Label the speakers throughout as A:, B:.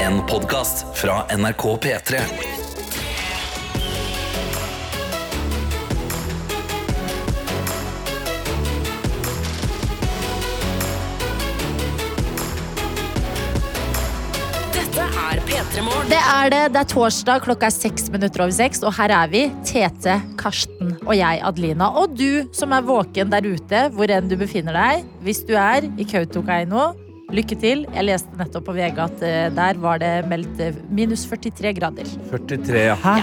A: En podcast fra NRK P3
B: Dette er P3 Morgen.
C: Det er det. Det er torsdag, klokka er seks minutter over seks, og her er vi. Tete, Karsten og jeg, Adelina. Og du som er våken der ute, hvor enn du befinner deg. Hvis du er i Kautokeino, lykke til. Jeg leste nettopp på VG at eh, der var det meldt eh, minus 43 grader.
D: 43, ja. Hæ?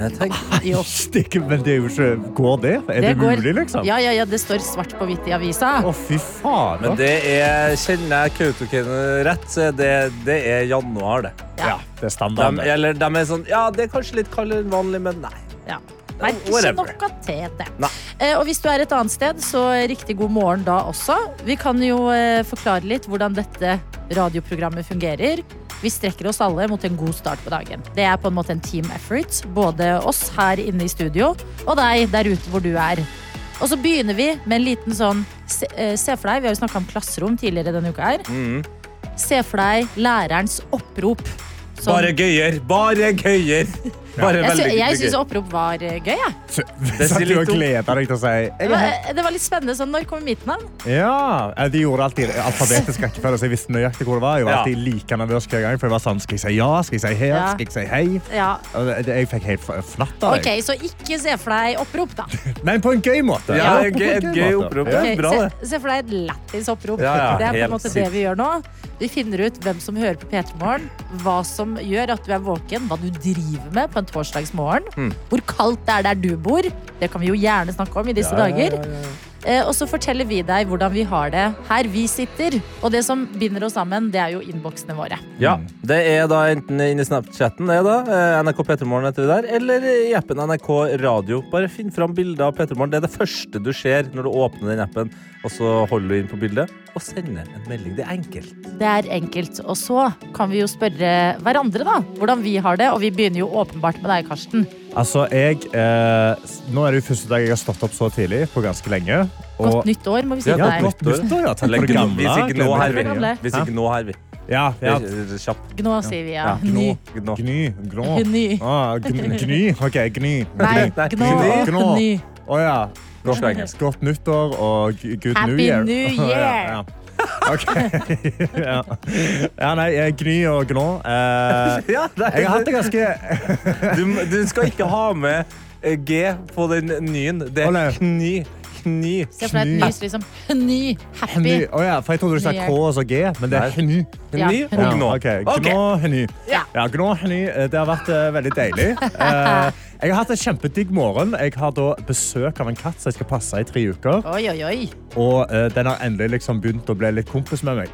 D: Jeg tenkte,
C: Jo.
E: Stikke, men det er jo ikke Går det? Er det,
C: går-
E: mulig, liksom?
C: Ja, ja, ja. Det står svart på hvitt i avisa.
E: Å, fy faen.
D: men det er, kjenner jeg Kautokeino rett, så er det, det er januar, det.
E: ja, det er standarden.
D: De, eller de er sånn Ja, det er kanskje litt kaldere enn vanlig, men nei.
C: Ja. Nei, ikke
D: Whatever.
C: nok av tete.
D: Nei.
C: Eh, og hvis du er et annet sted, så riktig god morgen da også. Vi kan jo eh, forklare litt hvordan dette radioprogrammet fungerer. Vi strekker oss alle mot en god start på dagen. Det er på en måte en team effort. Både oss her inne i studio og deg der ute hvor du er. Og så begynner vi med en liten sånn Se, eh, se for deg, vi har jo snakka om klasserom tidligere denne uka her.
D: Mm.
C: Se for deg lærerens opprop. Sånn-
D: Bare gøyer! Bare gøyer! Bare
C: jeg sy-
D: veldig
C: jeg
D: veldig
C: syns opprop var eh, gøy, jeg. Ja.
E: det
D: sier
E: satt
D: litt
E: jo og
D: om-
E: gleda deg til å si
C: Det
E: jeg er her.
C: var, det var litt spennende. Sånn, når kommer mitt navn?
E: Ja, eh, De gjorde alltid alfabetisk rekkefølge, så jeg visste nøyaktig hvor det var. Jeg var
D: Ja.
E: alltid like nervøs hver gang. For jeg var sånn, Skal jeg si ja? Skal jeg si her?
C: Ja.
E: Skal jeg si hei?
C: Ja.
E: Og det- Jeg fikk helt f- flatt av
C: Ok,
E: det.
C: så ikke se for deg opprop, da.
E: Men på en gøy måte.
D: Ja,
E: På
D: det er
E: en
D: gøy- et gøy
E: måte.
D: opprop.
E: Ja.
D: Det
C: Ok,
D: er bra,
C: se,
D: det.
C: se for deg et lættis opprop.
D: Ja, ja,
C: det er på en
D: helt
C: måte det
D: sykt.
C: vi gjør nå. Vi finner ut hvem som hører på P3 Morgen, hva som gjør at du er våken, hva du driver med på en torsdagsmorgen.
D: Mm.
C: Hvor kaldt det er der du bor. Det kan vi jo gjerne snakke om i disse dager. Eh, Og så forteller vi deg hvordan vi har det her vi sitter. Og det som binder oss sammen, det er jo innboksene våre.
D: Ja, Det er da enten inne i Snapchatten, det da, eh, NRK Petermorgen heter vi der, eller i appen NRK Radio. Bare finn fram bilder av Petermorgen. Det er det første du ser når du åpner den appen, og så holder du inn på bildet og sender en melding. Det er enkelt.
C: Det er enkelt. Og så kan vi jo spørre hverandre, da, hvordan vi har det. Og vi begynner jo åpenbart med deg, Karsten.
E: Altså, jeg, eh, s- nå er det jo første dag jeg har stått opp så tidlig på ganske lenge.
C: Godt nytt år, må vi si
D: Ja,
C: til
E: Ja,
D: godt
C: deg.
E: godt nyttår, ja. Takk for
D: Eller
E: det gamle.
D: gno- Hvis ikke nå her,
E: Glemmer det
C: Gamle.
D: vi. Hvis ikke nå her, vi.
E: Ja, ja.
D: Det er Kjapt.
C: Gnå, sier vi. Ja.
D: Ja,
C: Ny.
D: gno, gno.
E: Gny. Grå.
C: Gny.
E: Ah, gn- gny. OK, gny.
C: Nei,
E: Gny.
C: gnå.
D: Nei,
E: gny. Gnå.
C: Gny.
E: Å ja.
D: Norsk og engelsk.
E: Godt nyttår og g- good
C: Happy
E: new year.
C: New Year.
E: ja, ja. OK. ja. ja, nei, jeg gny og gnå. Eh,
D: Ja, det
E: jeg har hatt
D: er,
E: det ganske
D: du, du skal ikke ha med eh, G på den nyen. Det
E: Å, nei.
D: er kny. Kny.
C: Se for deg et
E: Gny.
C: nys, liksom. Hny. Happy.
E: Hny. Å ja, for jeg trodde du sa K og så G, men det er
D: Nei.
E: hny.
C: Ja.
D: Kny og
E: Ja,
D: gnå.
E: ok. Gnå, hny.
C: Ja.
E: Ja, gnå, hny. Eh, Det har vært eh, veldig deilig. Eh, jeg har hatt en kjempedigg morgen. Jeg har da besøk av en katt som jeg skal passe i tre uker.
C: Oi, oi, oi.
E: Og eh, den har endelig liksom begynt å bli litt kompis med meg.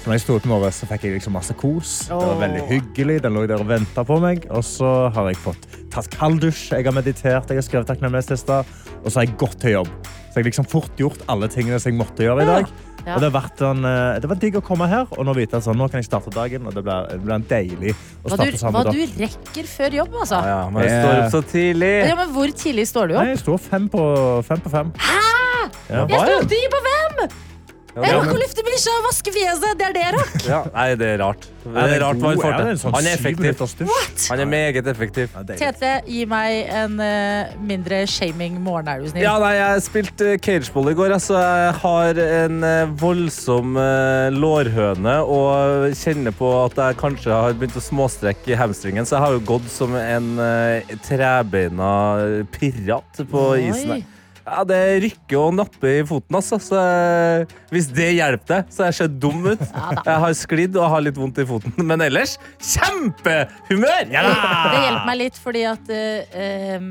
E: Så når jeg sto opp i morges, så fikk jeg liksom masse kos. Det var
C: Åh.
E: veldig hyggelig. Den lå der og ventet på meg. Og så har jeg fått tatt kalddusj, jeg har meditert, jeg har skrevet takknemlighetslister. Og så har jeg gått til jobb. Så jeg har liksom fort gjort alle tingene som jeg måtte gjøre i dag.
C: Ja.
E: Og det, har vært en, eh, det var digg å komme her og nå vite at sånn, nå kan jeg starte dagen. Og det blir, det blir en deilig å
C: Hva du,
E: starte
C: hva
E: sammen med
C: du
E: dere.
C: rekker før jobb, altså.
D: Ja, ja, men jeg står opp så tidlig.
C: Ja, men hvor tidlig står du
E: Nei,
C: opp?
E: jeg står fem på fem. På fem. Ja.
C: Jeg står opp ti på fem! Jeg
D: Ja,
C: rakk
D: men-
C: å lufte bikkja og vaske fjeset. Det er det jeg rakk.
D: Ja, nei, det er rart. Det er rart hva han får
E: Ja, det er en
D: til.
E: sånn
D: Han er
E: syv
D: effektiv.
E: minutters dusj.
D: Han er meget effektiv.
E: Ja, deilig.
C: Tete, gi meg en eh, mindre shaming morgen, er du snill.
D: Ja, nei, jeg spilte eh, cageball i går, jeg, så jeg har en eh, voldsom eh, lårhøne og kjenner på at jeg kanskje har begynt å småstrekke i hamstringen, så jeg har jo gått som en eh, trebeina pirat på
C: Oi.
D: isen. her. Ja, det rykker og napper i foten, altså. Så jeg, hvis det hjelper deg, så har jeg sett dum ut. Jeg har sklidd og har litt vondt i foten, men ellers kjempehumør! Ja, da!
C: Det hjelper meg litt, fordi at eh, em,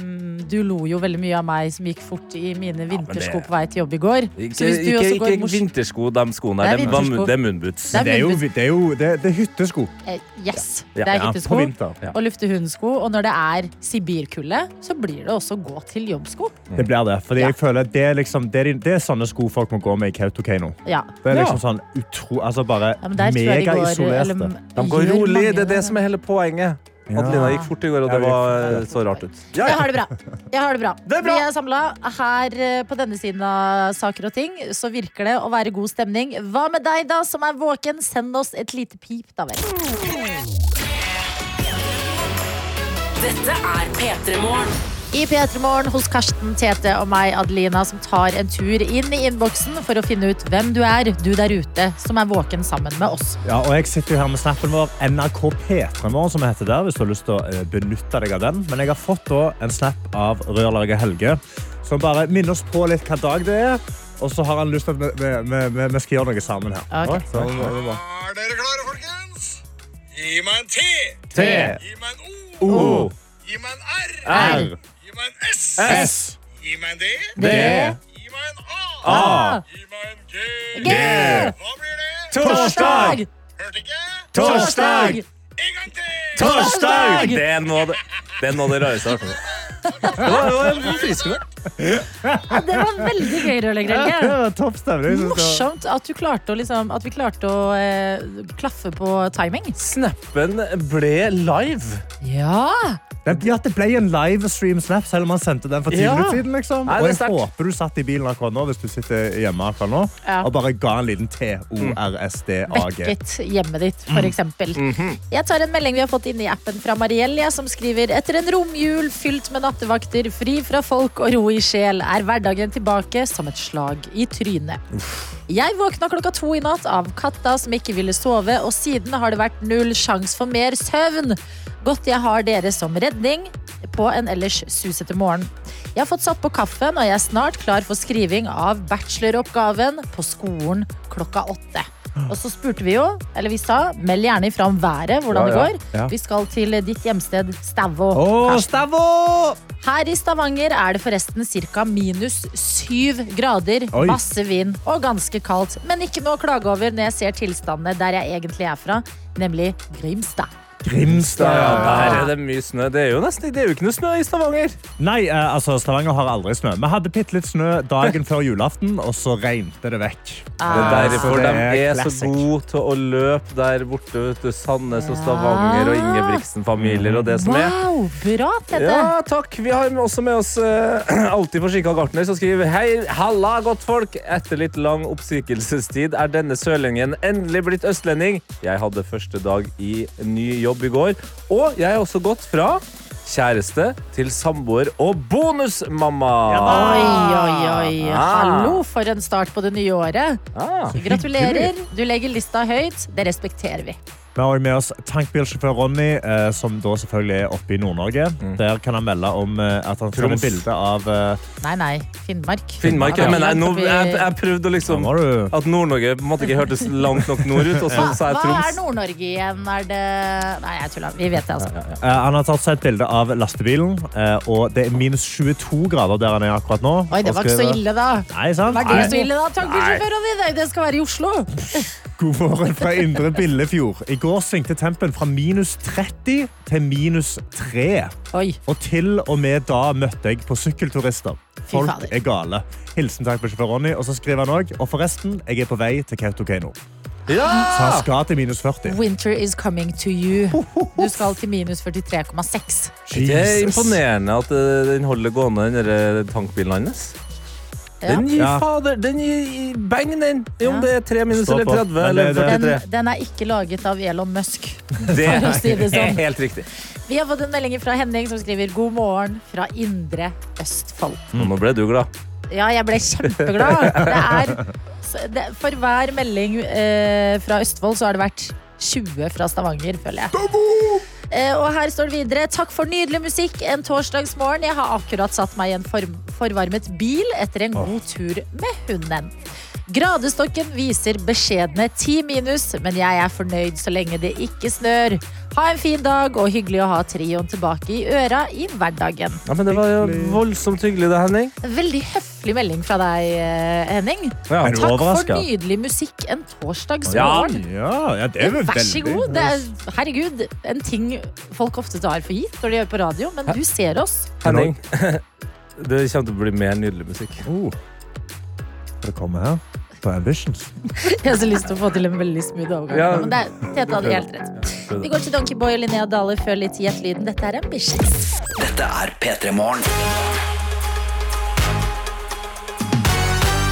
C: du lo jo veldig mye av meg som gikk fort i mine vintersko
D: det-
C: på vei til jobb i går. Så hvis
D: Ikke,
C: du
D: ikke,
C: også går
D: ikke
C: mors...
D: vintersko, de skoene der.
C: Det er
D: Det er,
C: vintersko.
D: mun- det er munnboots.
C: Det er
E: Det er jo,
C: munnbind.
E: det er jo det, det er hyttesko.
C: Eh, Yes,
D: Ja,
C: det er
E: ja,
C: hyttesko.
E: på vinter.
D: Ja.
C: Og luftehundsko. Og når det er sibirkulde, så blir det også gå til jobbsko.
E: Mm. Det blir det. Fordi
C: Ja.
E: jeg føler at det er, liksom, det, er, de- det er sånne sko folk må gå med i Kautokeino.
C: Ja.
E: Det er
D: Ja.
E: liksom sånn utro... Altså bare
C: ja men der tror jeg de går
E: megaisolerte.
C: eller
D: De går
C: gjør
D: rolig.
C: mange
D: Det er det som er hele poenget. Adelina gikk fort i går, og det
E: Ja, vi
D: var
E: gikk
D: så rart ut.
C: Jeg har det bra. Jeg har det bra.
E: Det er bra.
C: Vi er samla her eh, på denne siden av saker og ting. Så virker det å være god stemning. Hva med deg, da, som er våken? Send oss et lite pip, da vel.
B: Dette er P3 Morgen.
C: I P3 Morgen hos Karsten, Tete og meg, Adelina, som tar en tur inn i innboksen for å finne ut hvem du er, du der ute, som er våken sammen med oss.
E: Ja, og jeg sitter jo her med snappen vår NRK P3morgen, som heter der, hvis du har lyst til å eh, benytte deg av den. Men jeg har fått da en snap av rørlegger Helge, som bare minner oss på litt hva dag det er. Og så har han lyst til at vi, vi, vi, vi skal gjøre noe sammen her.
C: Ok.
E: Oi, så, det var bra.
F: Er dere klare, folkens? Gi meg en T. Gi meg en O.
E: O,
F: Gi meg en R.
E: R,
F: Gi meg en S.
E: S,
F: Gi meg en D.
E: D,
F: Gi meg en A.
E: A,
F: Gi meg en G.
C: G.
F: Hva blir det?
E: torsdag,
F: Hørte ikke?
E: torsdag,
F: En gang til.
E: torsdag!
D: Det er noe av det, det, er noe av det rareste jeg har hørt. Det var- det var forfriskende.
C: Ja, det var veldig gøy,
E: Ja, det
C: rørleggerhelge.
E: var Topp stemning. synes jeg.
C: Morsomt at, du klarte å liksom, at vi klarte å eh, klaffe på timing.
D: Snappen ble live.
C: Ja!
E: Den, ja, det ble en livestream snap, selv om han sendte den for ti
D: Ja.
E: minutter siden. Liksom.
D: Nei, det er
E: og jeg
D: sterkt.
E: håper du satt i bilen akkurat nå, hvis du sitter hjemme akkurat nå,
C: Ja.
E: og bare ga en liten T-O-R-S-D-A-G.
C: vekket hjemmet ditt, for eksempel. Jeg tar en melding vi har fått inne i appen fra Mariell, jeg, som skriver etter en romjul fylt med nattevakter, fri fra folk og ro i sjel, er hverdagen tilbake som et slag i trynet. Jeg våkna klokka to i natt av katta som ikke ville sove, og siden har det vært null sjans for mer søvn. Godt jeg har dere som redning på en ellers susete morgen. Jeg har fått satt på kaffen, og jeg er snart klar for skriving av bacheloroppgaven på skolen klokka åtte. Og så spurte vi jo, eller vi sa, meld gjerne ifra om været, hvordan
D: Ja, ja.
C: det går.
E: Ja.
C: Vi skal til ditt hjemsted Stavå.
E: Å, Stavå!
C: Her i Stavanger er det forresten ca. minus syv grader,
E: Oi.
C: masse vind og ganske kaldt. Men ikke noe å klage over når jeg ser tilstandene der jeg egentlig er fra, nemlig Grimstad.
E: Grimstad.
D: Ja, der er det mye snø. Det er jo nesten det er jo ikke noe snø i Stavanger.
E: Nei, eh, altså, Stavanger har aldri snø. Vi hadde bitte litt snø dagen før julaften, og så regnet det vekk.
D: Det er derfor
E: Så det er
D: de er så
E: classic.
D: gode til å løpe der borte. Vet du, Sandnes og Stavanger og Ingebrigtsen-familier og det som er.
C: Wow, bra, Tete!
D: Ja, takk. Vi har også med oss eh, alltid forsinka gartner, som skriver Hei, halla, godt folk. Etter litt lang oppsikelsestid er denne sørlendingen endelig blitt østlending. Jeg hadde første dag i ny jobb i går, og jeg er også gått fra kjæreste til samboer og bonusmamma.
C: Oi, oi, oi.
D: Ah.
C: Hallo, for en start på det nye året.
D: Ah.
C: Gratulerer. Du legger lista høyt. Det respekterer vi.
E: Vi har også med oss tankbilsjåfør Ronny, eh, som da selvfølgelig er oppe i Nord-Norge. Der kan han melde om eh, at han sender
D: Mm. Troms.
E: bilde av eh,
C: Nei, nei. Finnmark.
D: Finnmark, ja. Men jeg, nå, jeg, jeg prøvde å
E: Nå
D: liksom
E: må du
D: at Nord-Norge på en måte ikke hørtes langt nok nord ut, og så
C: Hva,
D: sa jeg
C: hva er
D: Troms.
C: Nord-Norge igjen? Er det Nei, jeg tulla. Vi vet det, altså.
E: Eh, Han har tatt seg et bilde av lastebilen, eh, og det er minus 22 grader der han er akkurat nå.
C: Oi, det
E: Og
C: var ikke så
E: skriver-
C: ille, da.
E: Nei, sant?
C: Var
E: Nei.
C: det så ille da? Tankbilsjåførene dine, det skal være i Oslo.
E: God morgen fra Indre Billefjord. I går svingte tempen fra minus 30 til minus 3.
C: Oi,
E: Og til og med da møtte jeg på sykkelturister. Folk
C: fader.
E: er gale. Hilsen takk for sjåfør Ronny. Og så skriver han òg. Og forresten, jeg er på vei til Kautokeino. Så han skal til minus 40.
C: winter is coming to you. Du skal til minus 44,6.
D: Det er
E: Jesus.
D: imponerende at eh, den holder gående, den der eh, tankbilen hans.
C: Ja.
D: Den gir
E: Ja.
D: fader, den gir i- bang, den! Om
C: Ja.
D: det er tre minus
E: Stå
D: eller
E: på.
D: 30
E: Men det-
D: eller
E: det-
C: Den,
D: 43.
C: den er ikke laget av Elon Musk.
D: Det
C: for å si det sånn.
D: er helt riktig.
C: Vi har fått en melding fra Henning som skriver God morgen fra Indre Østfold.
D: Og nå ble du glad.
C: Ja, jeg ble kjempeglad. Det er, så det, for hver melding eh, fra Østfold så har det vært 20 fra Stavanger, føler jeg. Eh, og her står det videre Takk for nydelig musikk en torsdagsmorgen. Jeg har akkurat satt meg i en form, forvarmet bil etter en god tur med hunden. Gradestokken viser beskjedne 10 minus, men jeg er fornøyd så lenge det ikke snør. Ha en fin dag, og hyggelig å ha trioen tilbake i øra i hverdagen.
D: Ja, men det var jo voldsomt hyggelig, det, Henning.
C: Veldig høflig melding fra deg, eh, Henning.
D: Ja.
E: Er du
C: Takk for
E: overrasket?
C: nydelig musikk en
D: Ja.
C: torsdagsmorgen.
E: Ja, ja, det er vel
C: Vær så
E: veldig-
C: god. Det er, herregud, en ting folk ofte tar for gitt når de hører på radio, men du ser oss.
D: Henning. Det kommer til å bli mer nydelig musikk.
E: Oh. Skal det komme her? På Ambitions.
C: Jeg har så lyst til å få til en veldig smooth overgang.
D: Ja.
C: Men det er, Tete hadde helt rett.
D: Absolutt.
C: Vi går til Donkeyboy og Linnea Dale før litt gjett lyden. Dette er Ambitious.
A: Dette er P3 Morgen.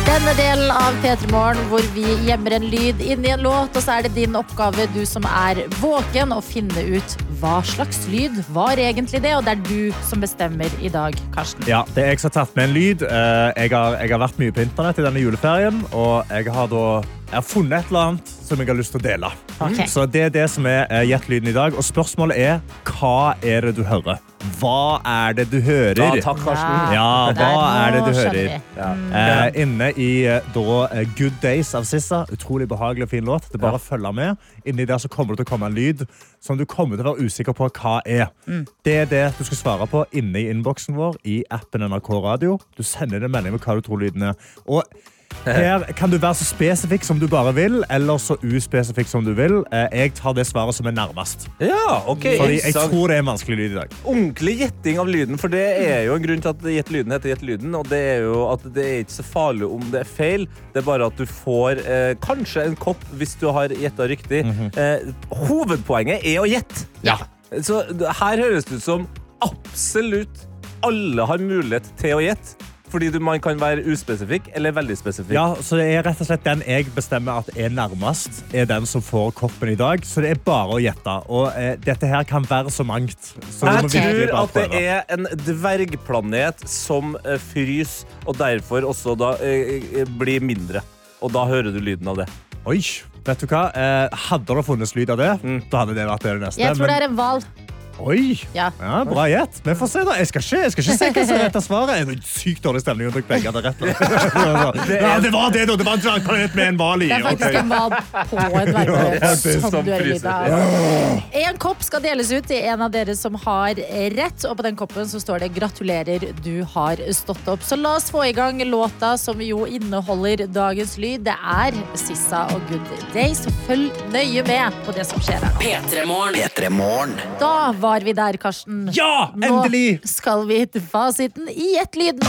C: Denne delen av P3 Morgen hvor vi gjemmer en lyd inn i en låt, og så er det din oppgave, du som er våken, å finne ut hva slags lyd var egentlig det, og det er du som bestemmer i dag, Karsten.
E: Ja, det er jeg som har tatt med en lyd. Eh, Jeg har, jeg har vært mye på internett i denne juleferien, og jeg har, da, jeg har funnet et eller annet som jeg har lyst til å dele.
C: Ok.
E: Så det er det som er eh, Gjett lyden i dag. Og spørsmålet er hva er det du hører? Hva er det du hører?
D: Ja, takk, Karsten. Mm.
E: Ja, hva
C: Der,
E: er det
C: nå
E: du
C: skjønner
E: hører?
C: vi.
E: Eh, inne i eh, da, eh, Good Days av Sissa. Utrolig behagelig og fin låt. Det er bare å følge med. Inni der så kommer det til å komme en lyd som du kommer til å være usikker på hva er. Det er det du skal svare på inne i innboksen vår i appen NRK Radio. Du sender inn en melding med hva du tror lyden er. Og her
D: Eh.
E: kan du være så spesifikk som du bare vil, eller så uspesifikk som du vil. Eh, Jeg tar det svaret som er nærmest.
D: Ja, ok.
E: Fordi jeg
D: interessant.
E: tror det er en vanskelig lyd i dag.
D: ordentlig gjetting av lyden, for det er jo en grunn til at Gjett lyden heter Gjett lyden, og det er jo at det er ikke så farlig om det er feil, det er bare at du får eh, kanskje en kopp hvis du har gjetta riktig. eh, hovedpoenget er å gjette.
E: Mhm. Ja.
D: Så d- her høres det ut som absolutt alle har mulighet til å gjette, fordi du, man kan være uspesifikk eller veldig spesifikk.
E: Ja, så det er rett og slett den jeg bestemmer at er nærmest, er den som får koppen i dag. Så det er bare å gjette. Og eh, dette her kan være så mangt. Så du
D: Jeg
E: må virkelig
D: tror
E: bare
D: at det
E: prøve.
D: er en dvergplanet som eh, fryser, og derfor også da eh, eh, blir mindre. Og da hører du lyden av det.
E: Oi, vet du hva? Eh, hadde det funnes lyd av det,
D: Mm.
E: da hadde det vært det neste.
C: Jeg tror det
E: men-
C: er en hval.
E: Oi!
C: Ja.
E: Ja, bra gjett. Vi får se, da. Jeg skal ikke, jeg skal ikke se hva som er rett av svaret. Det er sykt dårlig stemning om dere begge hadde rett. da. Ja, det var det, da! Det var en dvergplanet med en hval i.
C: Det er faktisk
E: Ok.
C: en hval på en verdenøy.
D: faktisk,
C: Som
D: som
C: du er i livet
D: fryser.
C: av. En kopp skal deles ut til en av dere som har rett, og på den koppen så står det 'Gratulerer, du har stått opp'. Så la oss få i gang låta som jo inneholder dagens lyd. Det er Sissa og Good Day, så følg nøye med på det som skjer her nå.
B: P3 Morgen.
A: P3 Morgen.
C: Da var vi der, Karsten.
E: Ja! Endelig!
C: Nå skal vi til fasiten i Ett-lyden.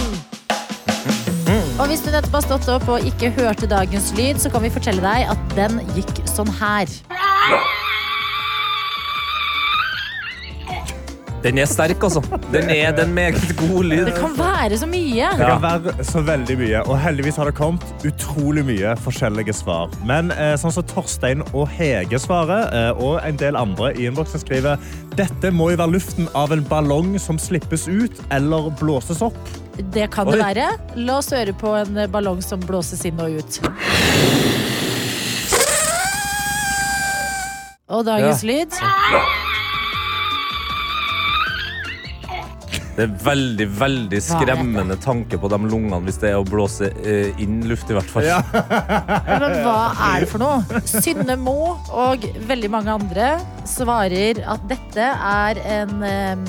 C: Og hvis du nettopp har stått opp og ikke hørte dagens lyd, så kan vi fortelle deg at den gikk sånn her.
D: Den er sterk, altså. Den er den meget god lyd.
C: Det kan være så mye.
E: Det kan være så veldig mye, og heldigvis har det kommet utrolig mye forskjellige svar. Men eh, sånn som Torstein og Hege svarer, eh, og en del andre i innboksen skriver dette må jo være luften av en ballong som slippes ut eller blåses opp.
C: Det kan det
D: Oi.
C: være. La oss høre på en ballong som blåses inn og ut. Og dagens lyd.
D: Det er veldig veldig skremmende tanke på de lungene hvis det er å blåse eh, inn luft, i hvert fall.
C: Men hva er det for noe? Synne Mo og veldig mange andre svarer at dette er en em,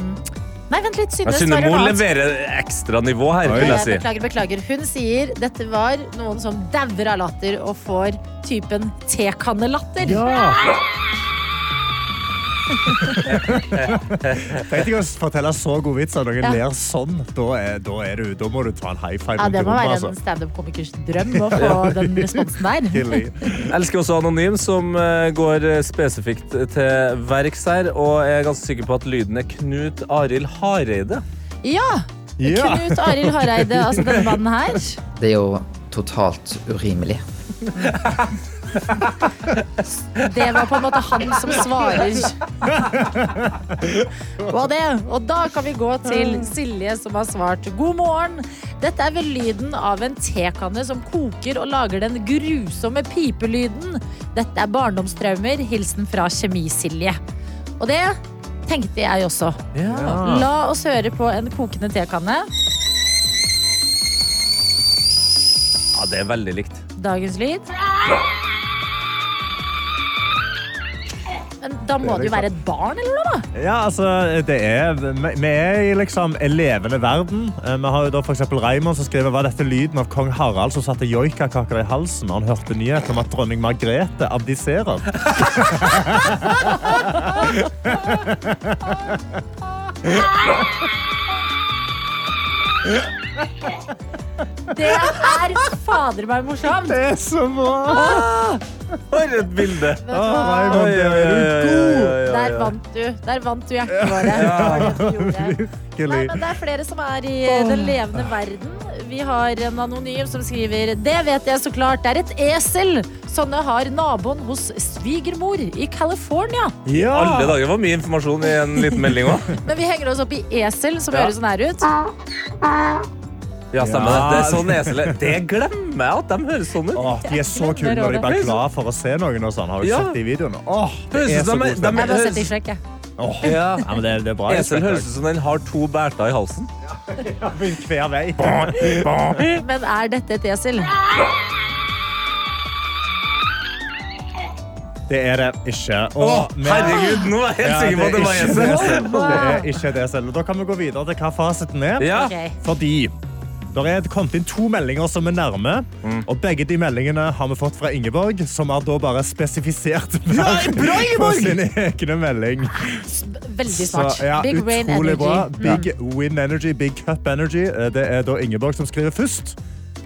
C: Nei, vent litt. Synne
D: Jeg synes
C: svarer
D: Mo
C: noe annet.
D: leverer ekstra nivå her, vil
C: Eh,
D: jeg si.
C: Beklager, beklager. Hun sier dette var noen som dauer av latter og får typen tekannelatter.
E: Tenkte jeg å fortelle så god vits at noen
C: Ja.
E: ler sånn. Da, er, da, er du, da må du ta en high five.
C: Ja,
E: rundt i
C: det må
E: rommet,
C: være
E: altså.
C: en standup-komikers drøm å få den responsen der.
E: Virkelig.
D: Jeg elsker også Anonym, som eh, går eh, spesifikt til verks her. Og jeg er ganske sikker på at lyden er Knut Arild Hareide.
C: Ja!
E: Ja.
C: Knut Arild Hareide, altså denne mannen her.
G: Det er jo totalt urimelig.
C: Det var på en måte han som svarer. Og det. Og da kan vi gå til Silje, som har svart god morgen. Dette er vel lyden av en tekanne som koker og lager den grusomme pipelyden. Dette er barndomstraumer. Hilsen fra Kjemi-Silje. Og det tenkte jeg også. La oss høre på en kokende tekanne.
D: Ja, det er veldig likt.
C: Dagens lyd. Men da må det jo være et barn, eller noe? da?
E: Ja, altså, det er, vi vi er i liksom en levende verden. Eh, Vi har jo da for eksempel Raimond som skriver Var dette lyden av kong Harald som satte joikakaker i halsen når han hørte nyheten om at dronning Margrethe abdiserer?
C: Det er fader meg morsomt!
E: Det er så bra!
D: For et bilde!
E: Å, Raimond,
D: Oi,
E: det
D: oi, oi,
E: er
D: oi,
E: du god!
D: oi, oi.
C: vant du. Der vant du hjertet vårt. Det var det du gjorde. Nei, men det er flere som er i den levende verden. Vi har en anonym som skriver Det vet jeg så klart, det er et esel! Sånne har naboen hos svigermor i California.
D: Alle dager det var mye informasjon i en liten melding òg.
C: Men vi henger oss opp i esel, som høres sånn her ut.
D: Ja, stemmer det.
E: Ja.
D: Det er sånn eselet. Det glemmer jeg at de høres sånn ut.
E: Åh, de er så kule når de bare er glad for å se noen. Og sånn. Har du
D: Ja.
E: sett de videoene? Åh, det
D: Høres
E: er
D: ut
E: så
D: som
E: god
D: de- de-
E: stemning.
C: Jeg bare setter i slekk, jeg.
E: Åh.
D: Ja.
E: Ja, men det, det er bra.
D: Esel høres ut som den har to bærter i halsen.
E: hver vei.
C: Men er dette et esel?
E: Det er det ikke.
D: Å,
E: Og med-
D: herregud, nå er jeg helt
E: Ja,
D: sikker på at det var
E: ikke
D: esel.
E: esel. Det er ikke et esel. Da kan vi gå videre til hva fasiten er.
D: Ja.
C: Ok.
E: Fordi det er kommet inn to meldinger som er nærme.
D: Mm.
E: Og begge de meldingene har vi fått fra Ingeborg, som har da bare spesifisert hver på sin egne melding.
C: Veldig Ah, smart.
E: Så, ja,
C: Big brain
E: utrolig bra.
C: energy.
E: Big win energy, big cup energy. Eh, Det er da Ingeborg som skriver først.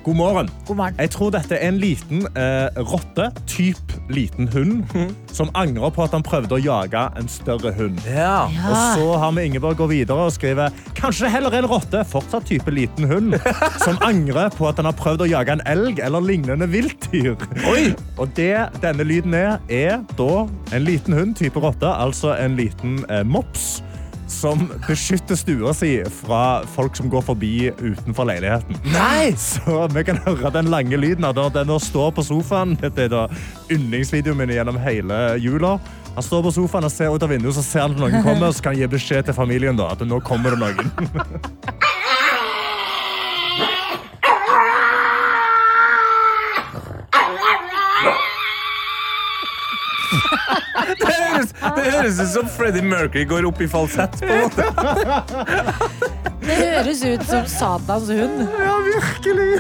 E: God morgen.
C: God morgen.
E: Jeg tror dette er en liten eh, rotte, typ liten hund,
D: Mm.
E: som angrer på at han prøvde å jage en større hund.
D: Ja.
E: Og så har vi Ingeborg gå videre og skriver Kanskje heller en rotte, fortsatt type liten hund, som angrer på at han har prøvd å jage en elg eller lignende viltdyr. Og det denne lyden er, er da en liten hund, type rotte, altså en liten eh, mops, som beskytter stua si fra folk som går forbi utenfor leiligheten.
D: Nei!
E: Så vi kan høre den lange lyden av når den nå står på sofaen. Dette er da yndlingsvideoen min gjennom hele jula. Han står på sofaen og ser ut av vinduet, så ser han at noen kommer, og så kan han gi beskjed til familien da, at nå kommer det noen.
D: Det høres, det høres ut som Freddie Mercury går opp i falsett. på en måte.
C: Det høres ut som Satans hund. Ja, virkelig.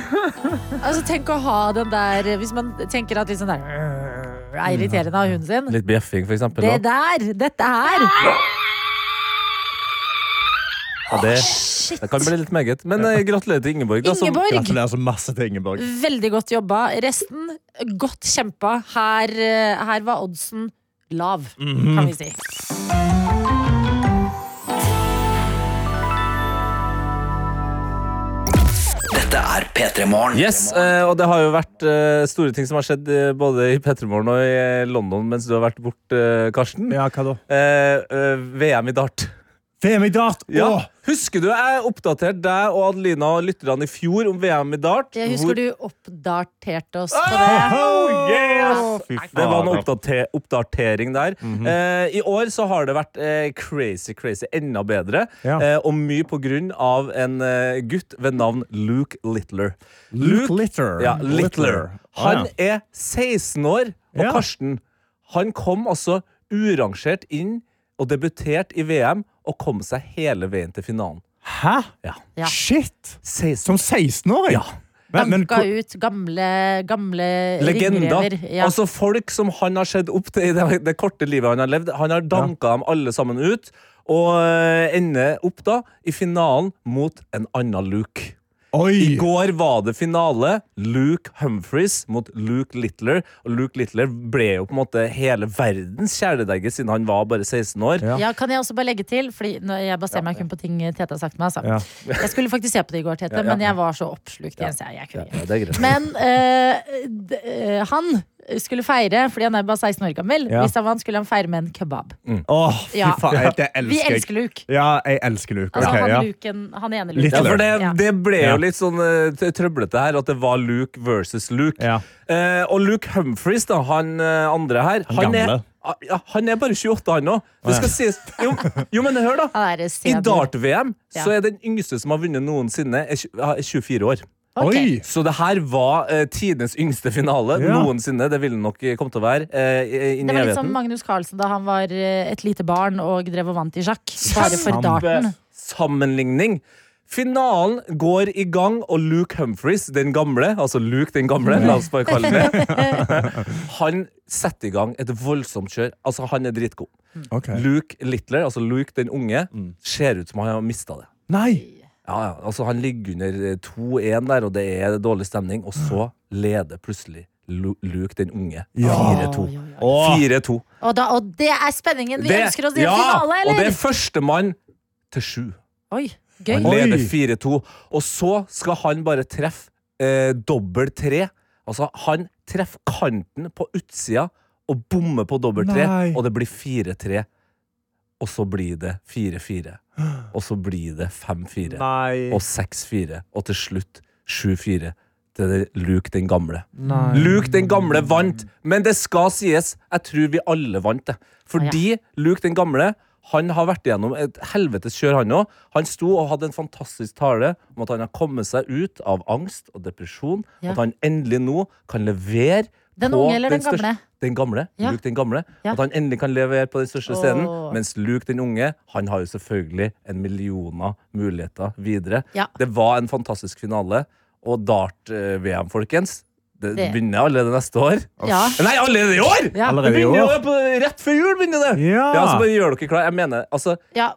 C: Altså, tenk å ha den der Hvis man tenker at litt sånn der er irriterende av hunden sin.
D: Litt bjeffing, for eksempel.
C: Det
D: da.
C: der! Dette her!
D: Ja, det, det kan bli litt meget. Men eh, gratulerer til Ingeborg. Da, som-
C: Ingeborg!
E: Gratulerer så masse til Ingeborg.
C: Veldig godt jobba. Resten, godt kjempa. Her, eh, her var oddsen lav, kan vi si.
A: Dette er P3 Morgen.
D: Yes, eh, og det har jo vært eh, store ting som har skjedd eh, både i Petremorgen og i eh, London mens du har vært bort, eh, Karsten.
E: Ja, hva da?
D: Eh, eh, VM i dart.
E: VM i dart!
D: Ja.
E: Åh!
D: Husker du jeg oppdaterte deg og Adelina og lytterne i fjor om VM i dart?
C: Jeg
D: Hvor-
C: husker du oppdaterte oss på det.
E: Oh, yeah! Fy
D: Det var en
E: fader.
D: oppdate oppdatering der.
E: Mhm.
D: eh, I år så har det vært eh, crazy, crazy, enda bedre.
E: Ja.
D: Eh, og mye på grunn av en eh, gutt ved navn Luke Littler.
E: Luke Littler.
D: Ja,
E: Littler.
D: Littler.
E: Ah, ja.
D: Han er 16 år, og
E: Ja.
D: Karsten han kom altså urangert inn og debuterte i VM og kom seg hele veien til finalen.
E: Hæ?
D: Ja.
C: Ja.
E: Shit!
D: 16
E: Som 16-åring?
D: Ja.
E: Men, men,
C: Banka ut gamle, gamle
D: Legender.
C: ringrever. Ja.
D: Altså Folk som han har sett opp til i det, det korte livet han har levd. Han har danka dem alle sammen ut, og eh, ender opp da i finalen mot en annen Luke. I
E: oi!
D: går var det finale. Luke Humphries mot Luke Littler. Og Luke Littler ble jo på en måte hele verdens kjæledegge siden han var bare 16 år.
E: Ja.
C: Ja, kan jeg også bare legge til Fordi nå- Jeg baserer meg kun på ting Tete har sagt til meg. Altså.
E: Ja.
C: Jeg skulle faktisk se på det i går, Tete, men jeg var så oppslukt. i en serie, Jeg kunne.
D: Ja, det er greit.
C: Men eh, d eh, han skulle feire, fordi han er bare 16 år gammel.
E: Ja.
C: Hvis han vant, skulle han feire med en kebab.
E: Åh, fy
C: Ja.
E: faen, jeg- det elsker
C: Vi
E: jeg.
C: elsker Luke.
E: Ja, jeg elsker Luke.
C: Altså
E: Ok,
C: han,
E: ja.
C: Luken, han ene
E: Litt
C: Luken.
D: Ja, for det,
C: Ja.
D: det ble
E: Ja.
D: jo litt sånn eh, t- trøblete her, at det var Luke versus Luke.
E: Ja.
D: Eh, og Luke Humphries, da, han eh, andre her
E: Han
D: han er,
E: gamle.
D: Ah, ja, han er bare 28, han òg. Det skal sies jo, jo, men hør, da.
C: Han er
D: I
C: senior.
D: dart-VM
C: Ja.
D: så er den yngste som har vunnet noensinne, er tju- er 24 år.
C: Ok.
E: Oi!
D: Så det her var eh, tidenes yngste finale
E: Ja.
D: noensinne. Det ville nok komme til å være eh, i- inn
C: Det
D: i
C: var litt sånn som
D: evigheten.
C: Magnus Carlsen da han var eh, et lite barn og drev og vant i sjakk. Bare for
E: Kjempe-
C: darten.
D: Sammenligning. Finalen går i gang, og Luke Humphries, den gamle, altså Luke den gamle, la oss bare kalle det han setter i gang et voldsomt kjør. Altså, han er dritgod.
C: Mm.
E: Ok.
D: Luke Littler, altså Luke den unge, ser ut som han har mista det.
E: Nei!
D: Ja, ja, altså Han ligger under eh, 2-1 der, og det er dårlig stemning, og så leder plutselig Lu- Luke den unge.
C: Å,
D: 4-2.
C: ja, ja.
E: Åh,
D: 4-2.
C: Og, da, og det er spenningen vi
D: Det-
C: ønsker oss i en
D: ja,
C: finale,
D: Og det
C: eller?
D: er førstemann til sju.
C: Oi,
D: Han
C: gøy.
E: Oi.
D: leder 4-2. Og så skal han bare treffe eh, dobbel tre. Altså, han treffer kanten på utsida og bommer på dobbel tre,
E: Nei.
D: og det blir 4-3. Og så blir det 4-4. Og så blir det 5-4.
E: Nei.
D: Og 6-4. Og til slutt 7-4 til det- Luke den gamle.
E: Nei.
D: Luke den gamle vant, men det skal sies, jeg tror vi alle vant det. Fordi Luke den gamle han har vært igjennom et helvetes kjør, han òg. Han sto og hadde en fantastisk tale om at han har kommet seg ut av angst og depresjon.
C: Ja.
D: At han endelig nå kan levere
C: Den
D: på
C: unge eller den
D: største-
C: gamle?
D: Den gamle.
C: Ja.
D: Luke den gamle.
C: Ja.
D: At han endelig kan levere på den største scenen.
C: Åh.
D: Mens Luke den unge han har jo selvfølgelig en millioner muligheter videre.
C: Ja.
D: Det var en fantastisk finale. Og dart-VM, folkens. Det,
C: Det-
D: begynner allerede neste år.
C: Ja.
D: Nei, allerede i år!
C: Ja.
D: Det
E: Allerede i
D: begynner jo
E: år.
D: på- Rett før jul begynner det!
E: Ja.
D: ja så bare gjør dere klar. Jeg mener, altså
C: Ja,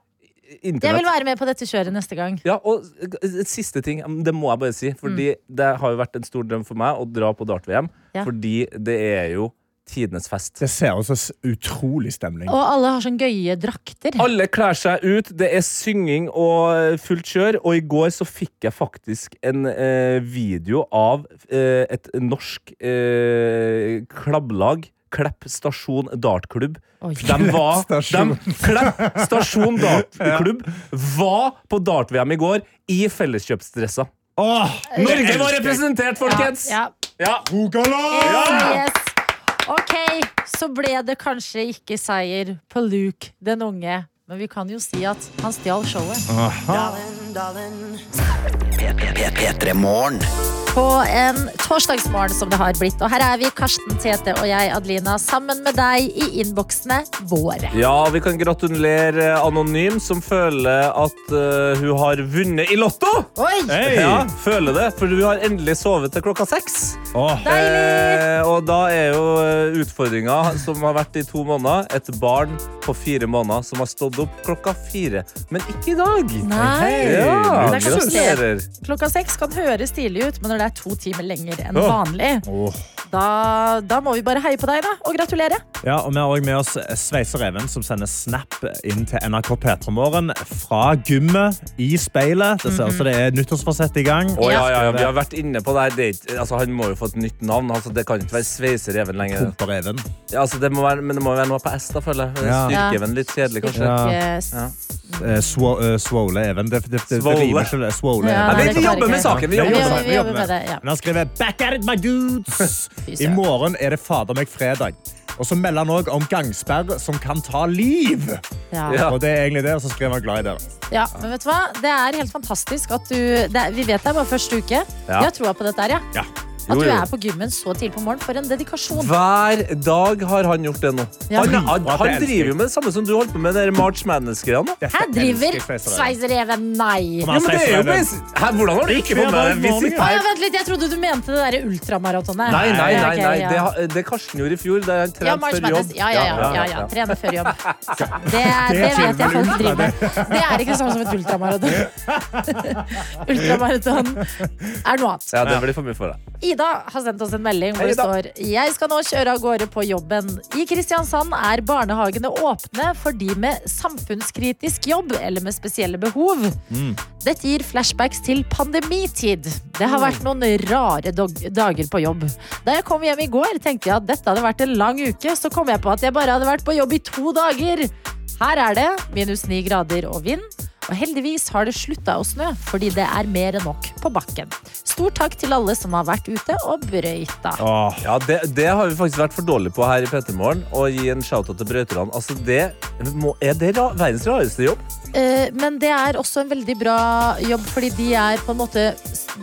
C: jeg vil
D: Internett
C: være med på dette kjøret neste gang.
D: ja, og eh, et siste ting, mm, det må jeg bare si. Fordi det har jo vært en stor drøm for meg å dra på dart-VM.
C: Mm. Ja.
D: Fordi det er jo tidenes fest.
E: Det ser ut som s- utrolig stemning.
C: Og alle har sånne gøye drakter.
D: Alle kler seg ut, det er synging og eh, fullt kjør. Og i går så fikk jeg faktisk en eh, video av eh, et norsk eh, klabblag. Klepp stasjon dartklubb.
C: Oi.
D: De var,
E: Klepp Stasjon.
D: de, Klepp stasjon dartklubb var på dart-VM i går i felleskjøpsdresser.
E: Åh,
D: Norge var representert, folkens!
C: Ja.
D: Ja.
E: Rogaland!
C: Yes. Ok, så ble det kanskje ikke seier på Luke den unge, men vi kan jo si at han stjal showet.
A: P3 Morgen.
C: På en torsdagsmorgen som det har blitt. Og her er vi, Karsten Tete og jeg, Adelina, sammen med deg i innboksene våre.
D: Ja, vi kan gratulere Anonym, som føler at eh, hun har vunnet i Lotto!
C: Oi!
E: Hei!
D: Ja, føler det, for hun har endelig sovet til klokka seks.
E: Åh,
D: Eh, og da er jo eh, utfordringa som har vært i to måneder, et barn på fire måneder som har stått opp klokka fire. Men ikke i dag.
C: Nei. Det
D: Ja,
C: er koselig.
D: gratulerer.
C: Klokka seks kan høres tidlig ut, men når det er to timer lenger enn
E: Åh.
C: vanlig,
E: Åh.
C: da, da må vi bare heie på deg da, og gratulere.
E: Ja, og Vi har også med oss Sveisereven, som sender snap inn til NRK P3morgen fra gymmet i speilet. Det ser ut som det er nyttårsforsett i gang.
D: Å, ja, ja, ja, vi har vært inne på det her. Det er ikke- Altså, han må jo få et nytt navn. Altså, det kan ikke være Sveisereven lenger.
E: Pumpereven.
D: Ja, altså, det må være, men det må jo være noe på S, da, føler jeg.
E: Ja.
D: Styrkeven litt kjedelig, kanskje.
E: Ja.
C: Ja.
E: Eh, swo- eh, Swole-even. Det, det, det, det
D: Swole.
E: rimer ikke. det. Swole-even.
C: Ja,
D: Nei,
C: det
D: vi
C: kan
D: jobber
C: være
D: med
C: greit.
D: saken. Vi
E: Ja,
C: Vi
D: jobber med
C: jobber,
D: saken.
C: vi jobber med det, ja.
E: Men han skriver Back at it, my dudes! I
C: søren.
E: morgen er det fader meg fredag. Og så melder han òg om gangsperre som kan ta liv.
C: Ja.
D: Ja.
E: Og det er egentlig det, og så skriver han glad i dere.
C: Ja, men vet du hva? Det er helt fantastisk at du det er, Vi vet det er bare første uke.
D: Ja.
C: Jeg har troa på dette her, jeg.
E: Ja.
D: Jo,
C: At du
D: jo.
C: er på gymmen så tidlig på morgenen. For en dedikasjon.
D: Hver dag har han gjort det nå.
C: Ja.
D: Han, han,
E: Og det
D: han
E: elsker
D: driver
E: jeg.
D: jo med det samme som du holdt på med, den der March Madness-greia nå.
E: Dette
C: Her driver
E: elsker jeg Sveisereven.
C: sveisereven, nei!
D: Ja,
E: Kom her,
D: men det er jo
E: Sveisereven.
D: basic- Hæ, hvordan har du ikke fått
E: Hver
D: med
E: dag
D: deg
E: morgen,
D: Visit
E: ja.
C: Å,
D: her?
C: ja, vent litt, jeg trodde du mente det derre ultramaratonet.
D: Nei, nei,
C: Ja,
D: nei,
C: ok,
D: nei.
C: ja.
D: Det, har- det Karsten gjorde i fjor. Det er han
C: ja,
D: trent
C: March
D: før
C: Madness.
D: jobb.
C: Ja, ja, ja. ja, ja. Trene før jobb. Det, det vet jeg folk driver med. Det er ikke det samme som et ultramaraton. Ultramaraton er noe annet.
D: Ja, det blir for mye for deg.
C: Ida har sendt oss en melding hvor
D: Hei,
C: det
D: Ida.
C: står Jeg skal nå kjøre av gårde på jobben. I Kristiansand er barnehagene åpne for de med samfunnskritisk jobb eller med spesielle behov. Dette gir flashbacks til pandemitid. Det har vært noen rare dog- dager på jobb. Da jeg kom hjem i går, tenkte jeg at dette hadde vært en lang uke. Så kom jeg på at jeg bare hadde vært på jobb i to dager. Her er det minus ni grader og vind. Og heldigvis har det slutta å snø, fordi det er mer enn nok på bakken. Stor takk til alle som har vært ute og brøyta.
E: Åh.
D: Ja, det, det har vi faktisk vært for dårlige på her i Pettermorgen. Å gi en shout-out til brøyterne. Altså, det må, er det ra verdens rareste jobb.
C: Eh, Men det er også en veldig bra jobb, fordi de er på en måte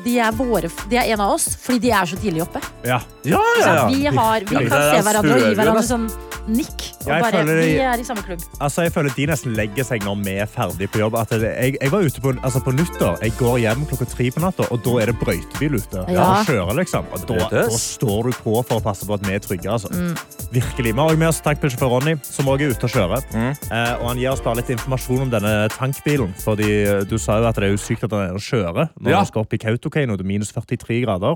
C: De er, våre, de er en av oss, fordi de er så tidlig oppe.
E: Ja.
D: Ja,
C: Så vi, har, vi
D: Ja,
C: kan
D: det er
C: se hverandre og gi
D: surreal,
C: hverandre
D: da.
C: sånn nikk. Og
E: Jeg
C: bare,
E: føler det-
C: vi er i samme klubb.
E: Altså, jeg føler de nesten legger seg når vi er ferdig på jobb. At det, jeg, jeg var ute på, altså, på nyttår. Jeg går hjem klokka tre på natta, og da er det brøytebil ute.
C: Ja.
E: Og kjører, liksom. Og da,
D: Brøytes.
E: da står du på for å passe på at vi er trygge. Altså.
C: Mm.
E: Virkelig. Vi har også med oss tankbilsjåfør Ronny, som også er ute og kjører.
D: Mm.
E: Eh, og han gir oss bare litt informasjon om denne tankbilen. Fordi eh, du sa jo at det er jo sykt at han er og kjører når
D: Ja.
E: han skal opp i Kautokeino til minus 43 grader.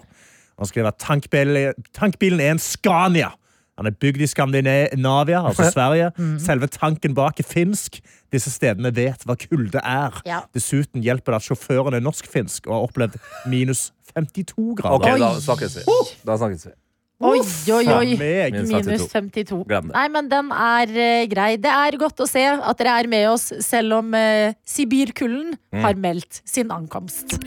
E: Han skriver at tankbil, tankbilen er en Scania. Han er bygd i Skandinavia, altså Sverige.
C: Mm.
E: Selve tanken bak er finsk. Disse stedene vet hva kulde er.
C: Ja.
E: Dessuten hjelper det at sjåføren er norsk-finsk og har opplevd minus 52 grader.
D: OK, da
C: Oi.
D: snakkes vi. Da snakkes vi.
C: Oi, oi,
E: Faen
C: oi.
E: meg.
D: Minus
C: Minus
D: 52.
C: 52.
D: Glem det.
C: Nei, men den er eh, grei. Det er godt å se at dere er med oss, selv om eh, Sibirkulden har meldt sin ankomst.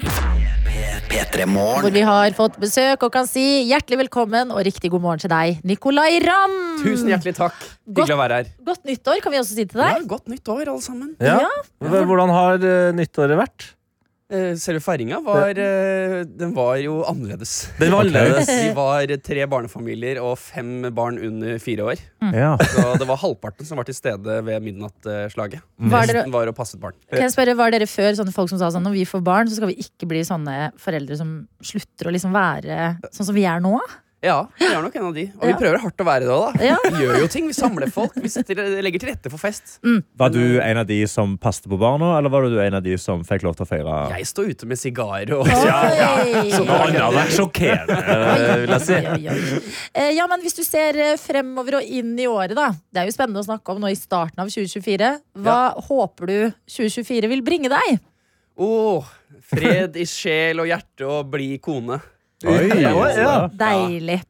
A: P3
C: Hvor
A: Morgen.
C: vi har fått besøk og kan si hjertelig velkommen og riktig god morgen til deg, Nikolai Ramm.
H: Tusen hjertelig takk. Hyggelig å være her.
C: Godt nyttår, kan vi også si til
H: Ja,
C: deg.
H: godt nytt år, alle sammen.
D: Ja. Hva- Hvordan har eh, nyttåret vært?
H: Eh, Selve feiringa var, eh, den var jo annerledes.
D: Den var annerledes.
H: Vi var tre barnefamilier og fem barn under fire år.
C: Mm.
E: Ja.
H: Så det var halvparten som var til stede ved midnattslaget.
C: Var dere-
H: Resten var og passet barn.
C: Kan jeg spørre, Var dere før sånne folk som sa sånn når vi får barn, så skal vi ikke bli sånne foreldre som slutter å liksom være sånn som vi er nå?
H: Ja, vi er nok en av de. Og
C: Ja.
H: vi prøver hardt å være det òg, da.
C: Ja.
H: Vi gjør jo ting. Vi samler folk. Vi setter, eh, legger til rette for fest.
E: Var du en av de som passet på barna, eller var du en av de som fikk lov til å feire?
H: Jeg står ute med sigarer og
C: Oi!
D: Noe annet hadde vært sjokkerende, eh, vil jeg si.
C: Oi, oi, oi. Eh, Ja, men hvis du ser eh, fremover og inn i året, da. Det er jo spennende å snakke om nå i starten av 2024. Hva håper du 2024 vil bringe deg?
H: Åh, Fred i sjel og hjerte og blid kone.
E: Oi,
H: ja.
C: Deilig.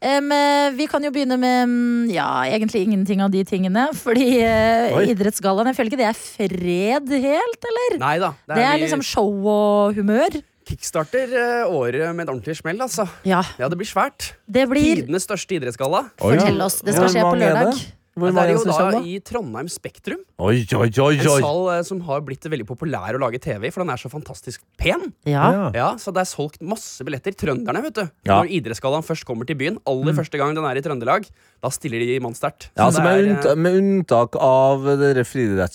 C: Em, eh, vi kan jo begynne med mm, ja, egentlig ingenting av de tingene. Fordi eh,
D: Oi.
C: Idrettsgallaen, jeg føler ikke det er fred helt, eller?
H: Nei da.
C: Det er liksom show og humør.
H: Kickstarter eh, året med et ordentlig smell, altså.
C: Ja,
H: Ja, det blir svært.
C: det blir
H: Tidenes største idrettsgalla.
C: Fortell oss. Det skal
D: Hvor
C: skje på
D: mange er
C: lørdag.
D: det?
H: Det
D: Hvor
H: er
D: mange
H: jo
D: som
H: da
D: kommer?
H: i Trondheim Spektrum.
D: Oi, oi, oi,
H: En
D: oi.
H: sal eh, som har blitt veldig populær å lage TV i, for den er så fantastisk pen.
C: Ja.
H: Ja, Så det er solgt masse billetter. Trønderne, vet du.
D: Ja. Mm.
H: Når idrettsgallaen først kommer til byen, aller første gang den er i Trøndelag, da stiller de mannsterkt.
D: Ja,
H: Så
D: altså
H: det
D: med,
H: er, eh,
D: unnta, med unntak av det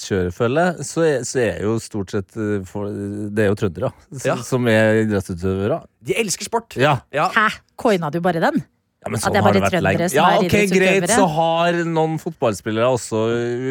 D: friidrettskjørefølget, så, er- så er jo stort sett eh, for, Det er jo trøndere s-
H: Ja.
D: som er idrettsutøvere.
H: De elsker sport!
D: Ja.
H: Ja.
C: Hæ? Coina du bare den?
D: ja, men
C: det er bare trøndere som
D: Ja,
C: er
D: ok, greit,
C: idrettsutøvere.
D: så har noen fotballspillere også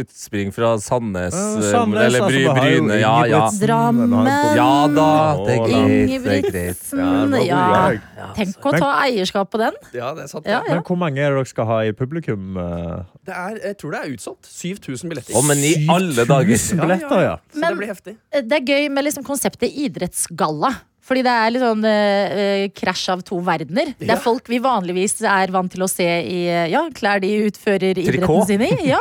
D: utspring fra Sandnes,
E: Ja,
D: eh,
E: Sandnes,
D: eller Bry,
E: altså, det har jo
D: Bryne. Ja, ja.
E: Ingebrigtsen,
C: Drammen.
E: den har jo-
D: Ja da, det er greit. Det er greit.
C: Ingebrigtsen.
E: det
C: Ja.
E: var god dag.
C: Tenk å ta eierskap på den.
H: Ja, det er sant.
C: Ja,
H: det.
C: ja.
E: Men hvor mange er det dere skal ha i publikum? eh?
H: Det er, jeg tror det er utsolgt. 7000 billetter.
D: Å, men i alle dager!
E: 7000 billetter, ja.
H: Så
C: Men-
H: det blir heftig.
C: Det er gøy med liksom konseptet idrettsgalla. Fordi det er litt sånn eh, eh, krasj av to verdener. Det
H: Ja.
C: er folk vi vanligvis er vant til å se i eh, ja, klær de utfører idretten
D: Trikot.
C: sin i. Ja,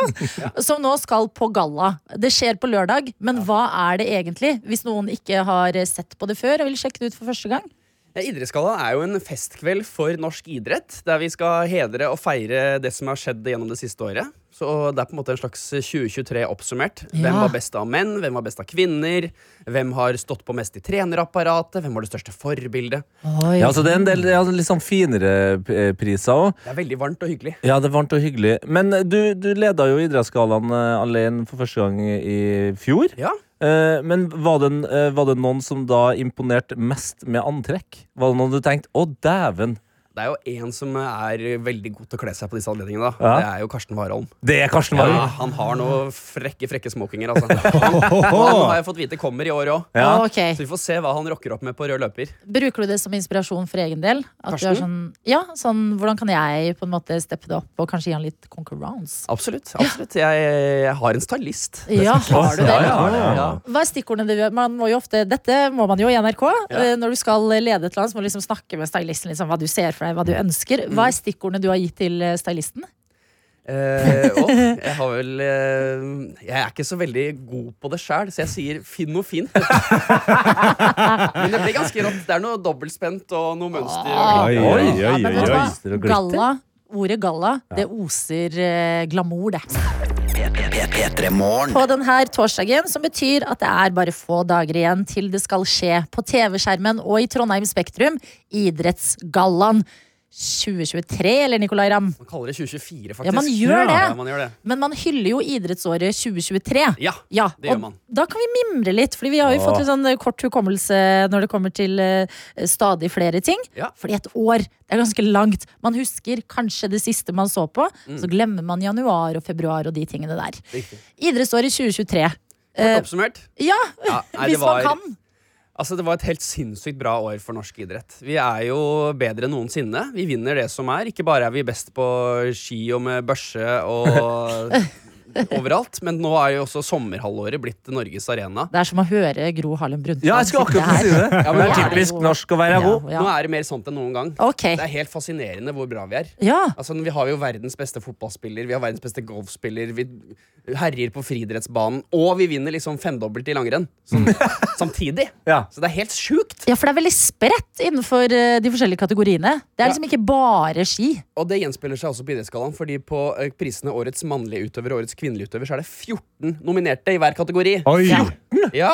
C: som nå skal på galla. Det skjer på lørdag, men hva er det egentlig? Hvis noen ikke har eh, sett på det før og vil sjekke det ut for første gang.
H: Ja, Idrettsgallaen er jo en festkveld for norsk idrett, der vi skal hedre og feire det som har skjedd gjennom det siste året. Så det er på en måte en slags 2023 oppsummert.
C: Ja.
H: Hvem var best av menn, hvem var best av kvinner, hvem har stått på mest i trenerapparatet, hvem var det største forbildet.
D: Ja, altså det er en del ja, litt sånn finere eh, priser òg.
H: Det er veldig varmt og hyggelig.
D: Ja, det er varmt og hyggelig. Men eh, du, du leda jo Idrettsgallaen eh, alene for første gang i i fjor.
H: Ja.
D: Eh, Men var det, en- eh, var det noen som da imponerte mest med antrekk? Var det noen du tenkte 'å, dæven'?
H: Det er jo en som er veldig god til å kle seg på disse anledningene, da.
D: Ja.
H: Det er jo Karsten Warholm.
D: Det er Karsten
H: Ja,
D: Warholm!
H: han har noen frekke, frekke smokinger, altså. Han har jeg fått vite kommer i år òg.
D: Ja.
C: Ah, Ok,
H: Så vi får se hva han rocker opp med på rød løper.
C: Bruker du det som inspirasjon for egen del? At du er sånn, ja, sånn, hvordan kan jeg på en måte steppe det opp og kanskje gi han litt konkurranse?
H: Absolutt. absolutt. Jeg, jeg har en stylist.
C: Ja, har du det?
H: Ja, ja, ja.
C: Hva er stikkordene du gjør? Man må jo ofte, dette må man jo i NRK. Eh, Når du skal lede et land, så må du liksom snakke med stylisten liksom, hva du ser for deg, hva du ønsker. Hva er stikkordene du har gitt til eh, stylisten?
H: Eh, og jeg har vel eh, Jeg er ikke så veldig god på det sjæl, så jeg sier 'finn noe fint'. Men det blir ganske rått. Det er noe dobbeltspent og noe mønster. Og
C: Ah.
E: Oi,
H: glitter.
E: oi,
C: Ja,
E: oi,
C: men vet du
D: glitter
E: oi.
D: og
C: hva?
D: glitter.
C: Galla, ordet galla, det oser eh, glamour, det.
A: P3 Morgen.
C: på denne torsdagen, som betyr at det er bare få dager igjen til det skal skje på TV-skjermen og i Trondheim Spektrum, Idrettsgallaen 2023, eller Nicolay Ramm?
H: Man kaller det 2024, faktisk.
C: Ja, man gjør det.
H: Ja, man gjør det.
C: Men man hyller jo idrettsåret 2023.
H: Ja, det
C: og
H: gjør man.
C: Da kan vi mimre litt, Fordi vi har jo fått litt sånn eh, kort hukommelse når det kommer til eh, stadig flere ting.
H: Ja.
C: Fordi et år det er ganske langt. Man husker kanskje det siste man så på, så glemmer man januar og februar og de tingene der.
H: Mm. Riktig.
C: Idrettsåret 2023.
H: Kort oppsummert.
C: Ja,
H: Ja, nei, det
C: Eh, hvis man
H: var-
C: kan.
H: Altså, det var et helt sinnssykt bra år for norsk idrett. Vi er jo bedre enn noensinne. Vi vinner det som er. Ikke bare er vi best på ski og med børse og overalt, men nå er jo også sommerhalvåret blitt Norges arena.
C: Det er som å høre Gro Harlem Brundtland
D: Ja, jeg skal
C: sitte
D: akkurat
C: her.
D: si det.
H: Ja,
D: Det
H: men
D: er
H: nå er
C: det
D: typisk
C: jo-
D: norsk å være god.
H: Nå
C: Ja, ja.
H: er det mer sånt enn noen gang.
C: Ok.
H: Det er helt fascinerende hvor bra vi er.
C: Ja.
H: Altså, vi har jo verdens beste fotballspiller, vi har verdens beste golfspiller, vi herjer på friidrettsbanen, og vi vinner liksom femdobbelt i langrenn sånn, samtidig.
D: Ja.
H: Så det er helt sjukt!
C: ja, for det er veldig spredt innenfor eh, de forskjellige kategoriene. Det er liksom ikke bare ski.
H: Og det gjenspeiler seg også på idrettsgallaen, fordi på eh, prisene Årets mannlige utøver og Årets kvinnelige utøver så er det 14 nominerte i hver kategori.
E: Oi.
C: Ja.
H: Ja!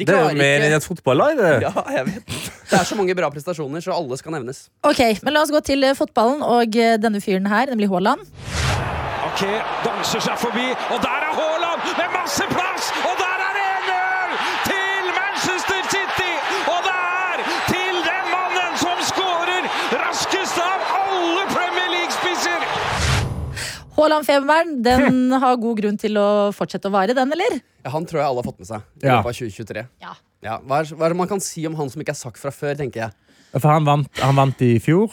H: De
D: Det er
H: klarer
D: jo mer enn
H: ikke
D: et fotballag. det.
H: ja, jeg vet. Det er så mange bra prestasjoner, så alle skal nevnes.
C: Ok, men la oss gå til eh, fotballen og eh, denne fyren her, nemlig Haaland.
I: Ok, danser seg forbi, og der er Haaland med masse plass! Og der er det 1-0 til Manchester City! Og det er til den mannen som skårer raskest av alle Premier League-spisser!
C: Haaland-feberen, den har god grunn til å fortsette å vare, den, eller?
H: Ja, Han tror jeg alle har fått med seg i
E: Ja.
H: løpet av 2023.
C: Ja.
H: Ja, hva, er, hva er det man kan si om han som ikke er sagt fra før, tenker jeg.
E: For han vant, han vant i fjor.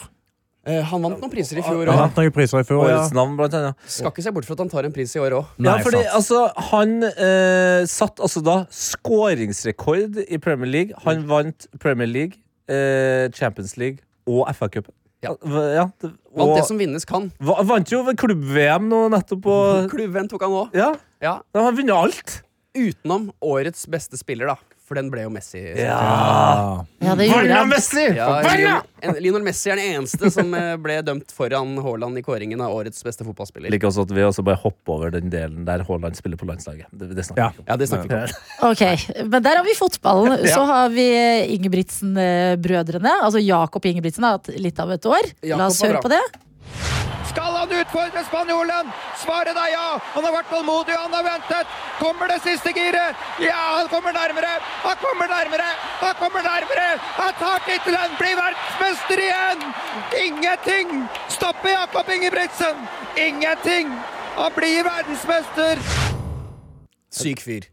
H: Eh, han vant noen priser i fjor
E: Han
H: òg.
E: vant noen priser i fjor. Ja.
D: Årets navn, blant annet.
H: Skal ikke se bort fra at han tar en pris i år òg.
E: Nei,
D: ja, fordi
E: sant.
D: altså, Han eh, satt altså da skåringsrekord i Premier League. Han
H: Mm.
D: vant Premier League, eh, Champions League og FA-cupen.
H: Ja.
D: v- ja, det-
H: Vant
D: og
H: det som vinnes kan.
D: va- vant jo ved klubb-VM nå nettopp. Og,
H: Klubben tok han òg.
D: ja,
H: Ja.
D: de har vunnet alt.
H: Utenom årets beste spiller, da. For den ble jo Messi.
E: Ah.
C: Ja, det gjorde han.
D: Messi!
H: Ja, Lionel- en- Lionel Messi er den eneste som eh, ble dømt foran Haaland i kåringen av årets beste fotballspiller.
D: Liker også at vi også bare hopper over den delen der Haaland spiller på landslaget. Det, det snakker
E: Ja.
D: vi ikke om.
H: Ja, det snakker vi ikke om.
C: Ok, men der har vi fotballen. Så har vi eh, Ingebrigtsen-brødrene. Altså Jakob Ingebrigtsen har hatt litt av et år.
H: Jakob
C: La oss
H: var
C: høre
H: bra.
C: på det.
I: Skal han utfordre spanjolen? Svaret er ja! Han har vært tålmodig, han har ventet. Kommer det siste giret? Ja, han kommer nærmere! Han kommer nærmere! Han kommer nærmere! Han tar tittelen! Blir verdensmester igjen! Ingenting stopper Jakob Ingebrigtsen! Ingenting! Han blir verdensmester!
H: Syk fyr.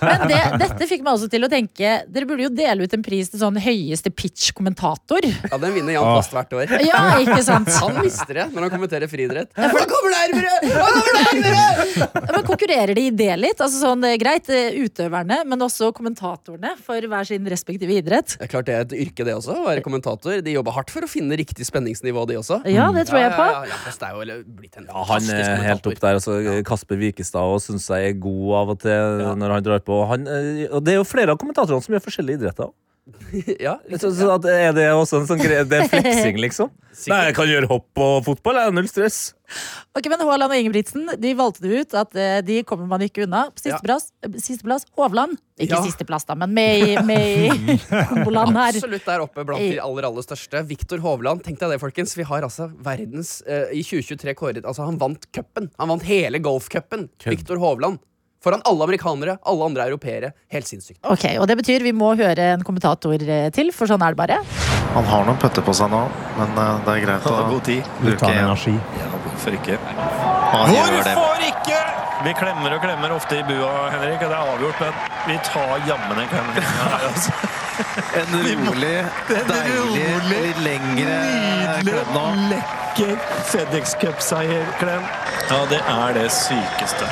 C: Men det, dette fikk meg også til å tenke Dere burde jo dele ut en pris til sånn høyeste pitch-kommentator.
H: Ja, den vinner Jan
C: Ah.
H: Fast hvert år.
C: Ja, ikke sant?
H: Han mister det når han kommenterer friidrett.
C: Han kommer nærmere! Han kommer nærmere! Men konkurrerer de i det litt? Altså sånn, eh, Greit, eh, utøverne, men også kommentatorene for hver sin respektive idrett.
H: Det er klart det er et yrke, det også. Å være kommentator. De jobber hardt for å finne riktig spenningsnivå, de også.
C: Ja, det tror jeg på.
H: Mm. Ja, ja, ja, Fast er jo blitt en
D: Ja, han
H: fantastisk
E: eh,
D: er helt opp
H: kommentator.
D: der. Altså, Kasper Wikestad også syns jeg er god av og til når han drar på. Han, eh, og det er jo flere av kommentatorene som gjør forskjellige idretter. også.
H: Ja,
D: Så, så at, er det også en sånn greie? Det er fleksing, liksom? Nei, jeg kan gjøre hopp og fotball. Jeg er null stress.
C: Ok, men Haaland og Ingebrigtsen de valgte det ut at eh, de kommer man ikke unna. På
H: Ja.
C: Sisteplass siste plass, Hovland. Ikke
H: Ja.
C: sisteplass, da, men med i- med i komboland her.
H: Absolutt der oppe blant de aller aller største. Viktor Hovland, tenk deg det, folkens. Vi har altså verdens eh, I 2023 kåret Altså, han vant cupen. Han vant hele golfcupen. Viktor Hovland. Foran alle amerikanere, alle andre europeere. Helt sinnssykt.
C: Ok, og Det betyr vi må høre en kommentator eh, til, for sånn er det bare.
J: Han har noen pøtter på seg nå, men eh, det er greit å
E: Ut av
J: bruke en.
E: energi.
J: Ja, hvorfor ikke? Han gjør det.
I: ikke?
J: Vi klemmer og klemmer ofte i bua, Henrik, og det er avgjort, men vi tar jammen en klem. en rolig, deilig, litt lengre klem nå. Lekker FedEx Cup-seierklem. Ja, det er det sykeste.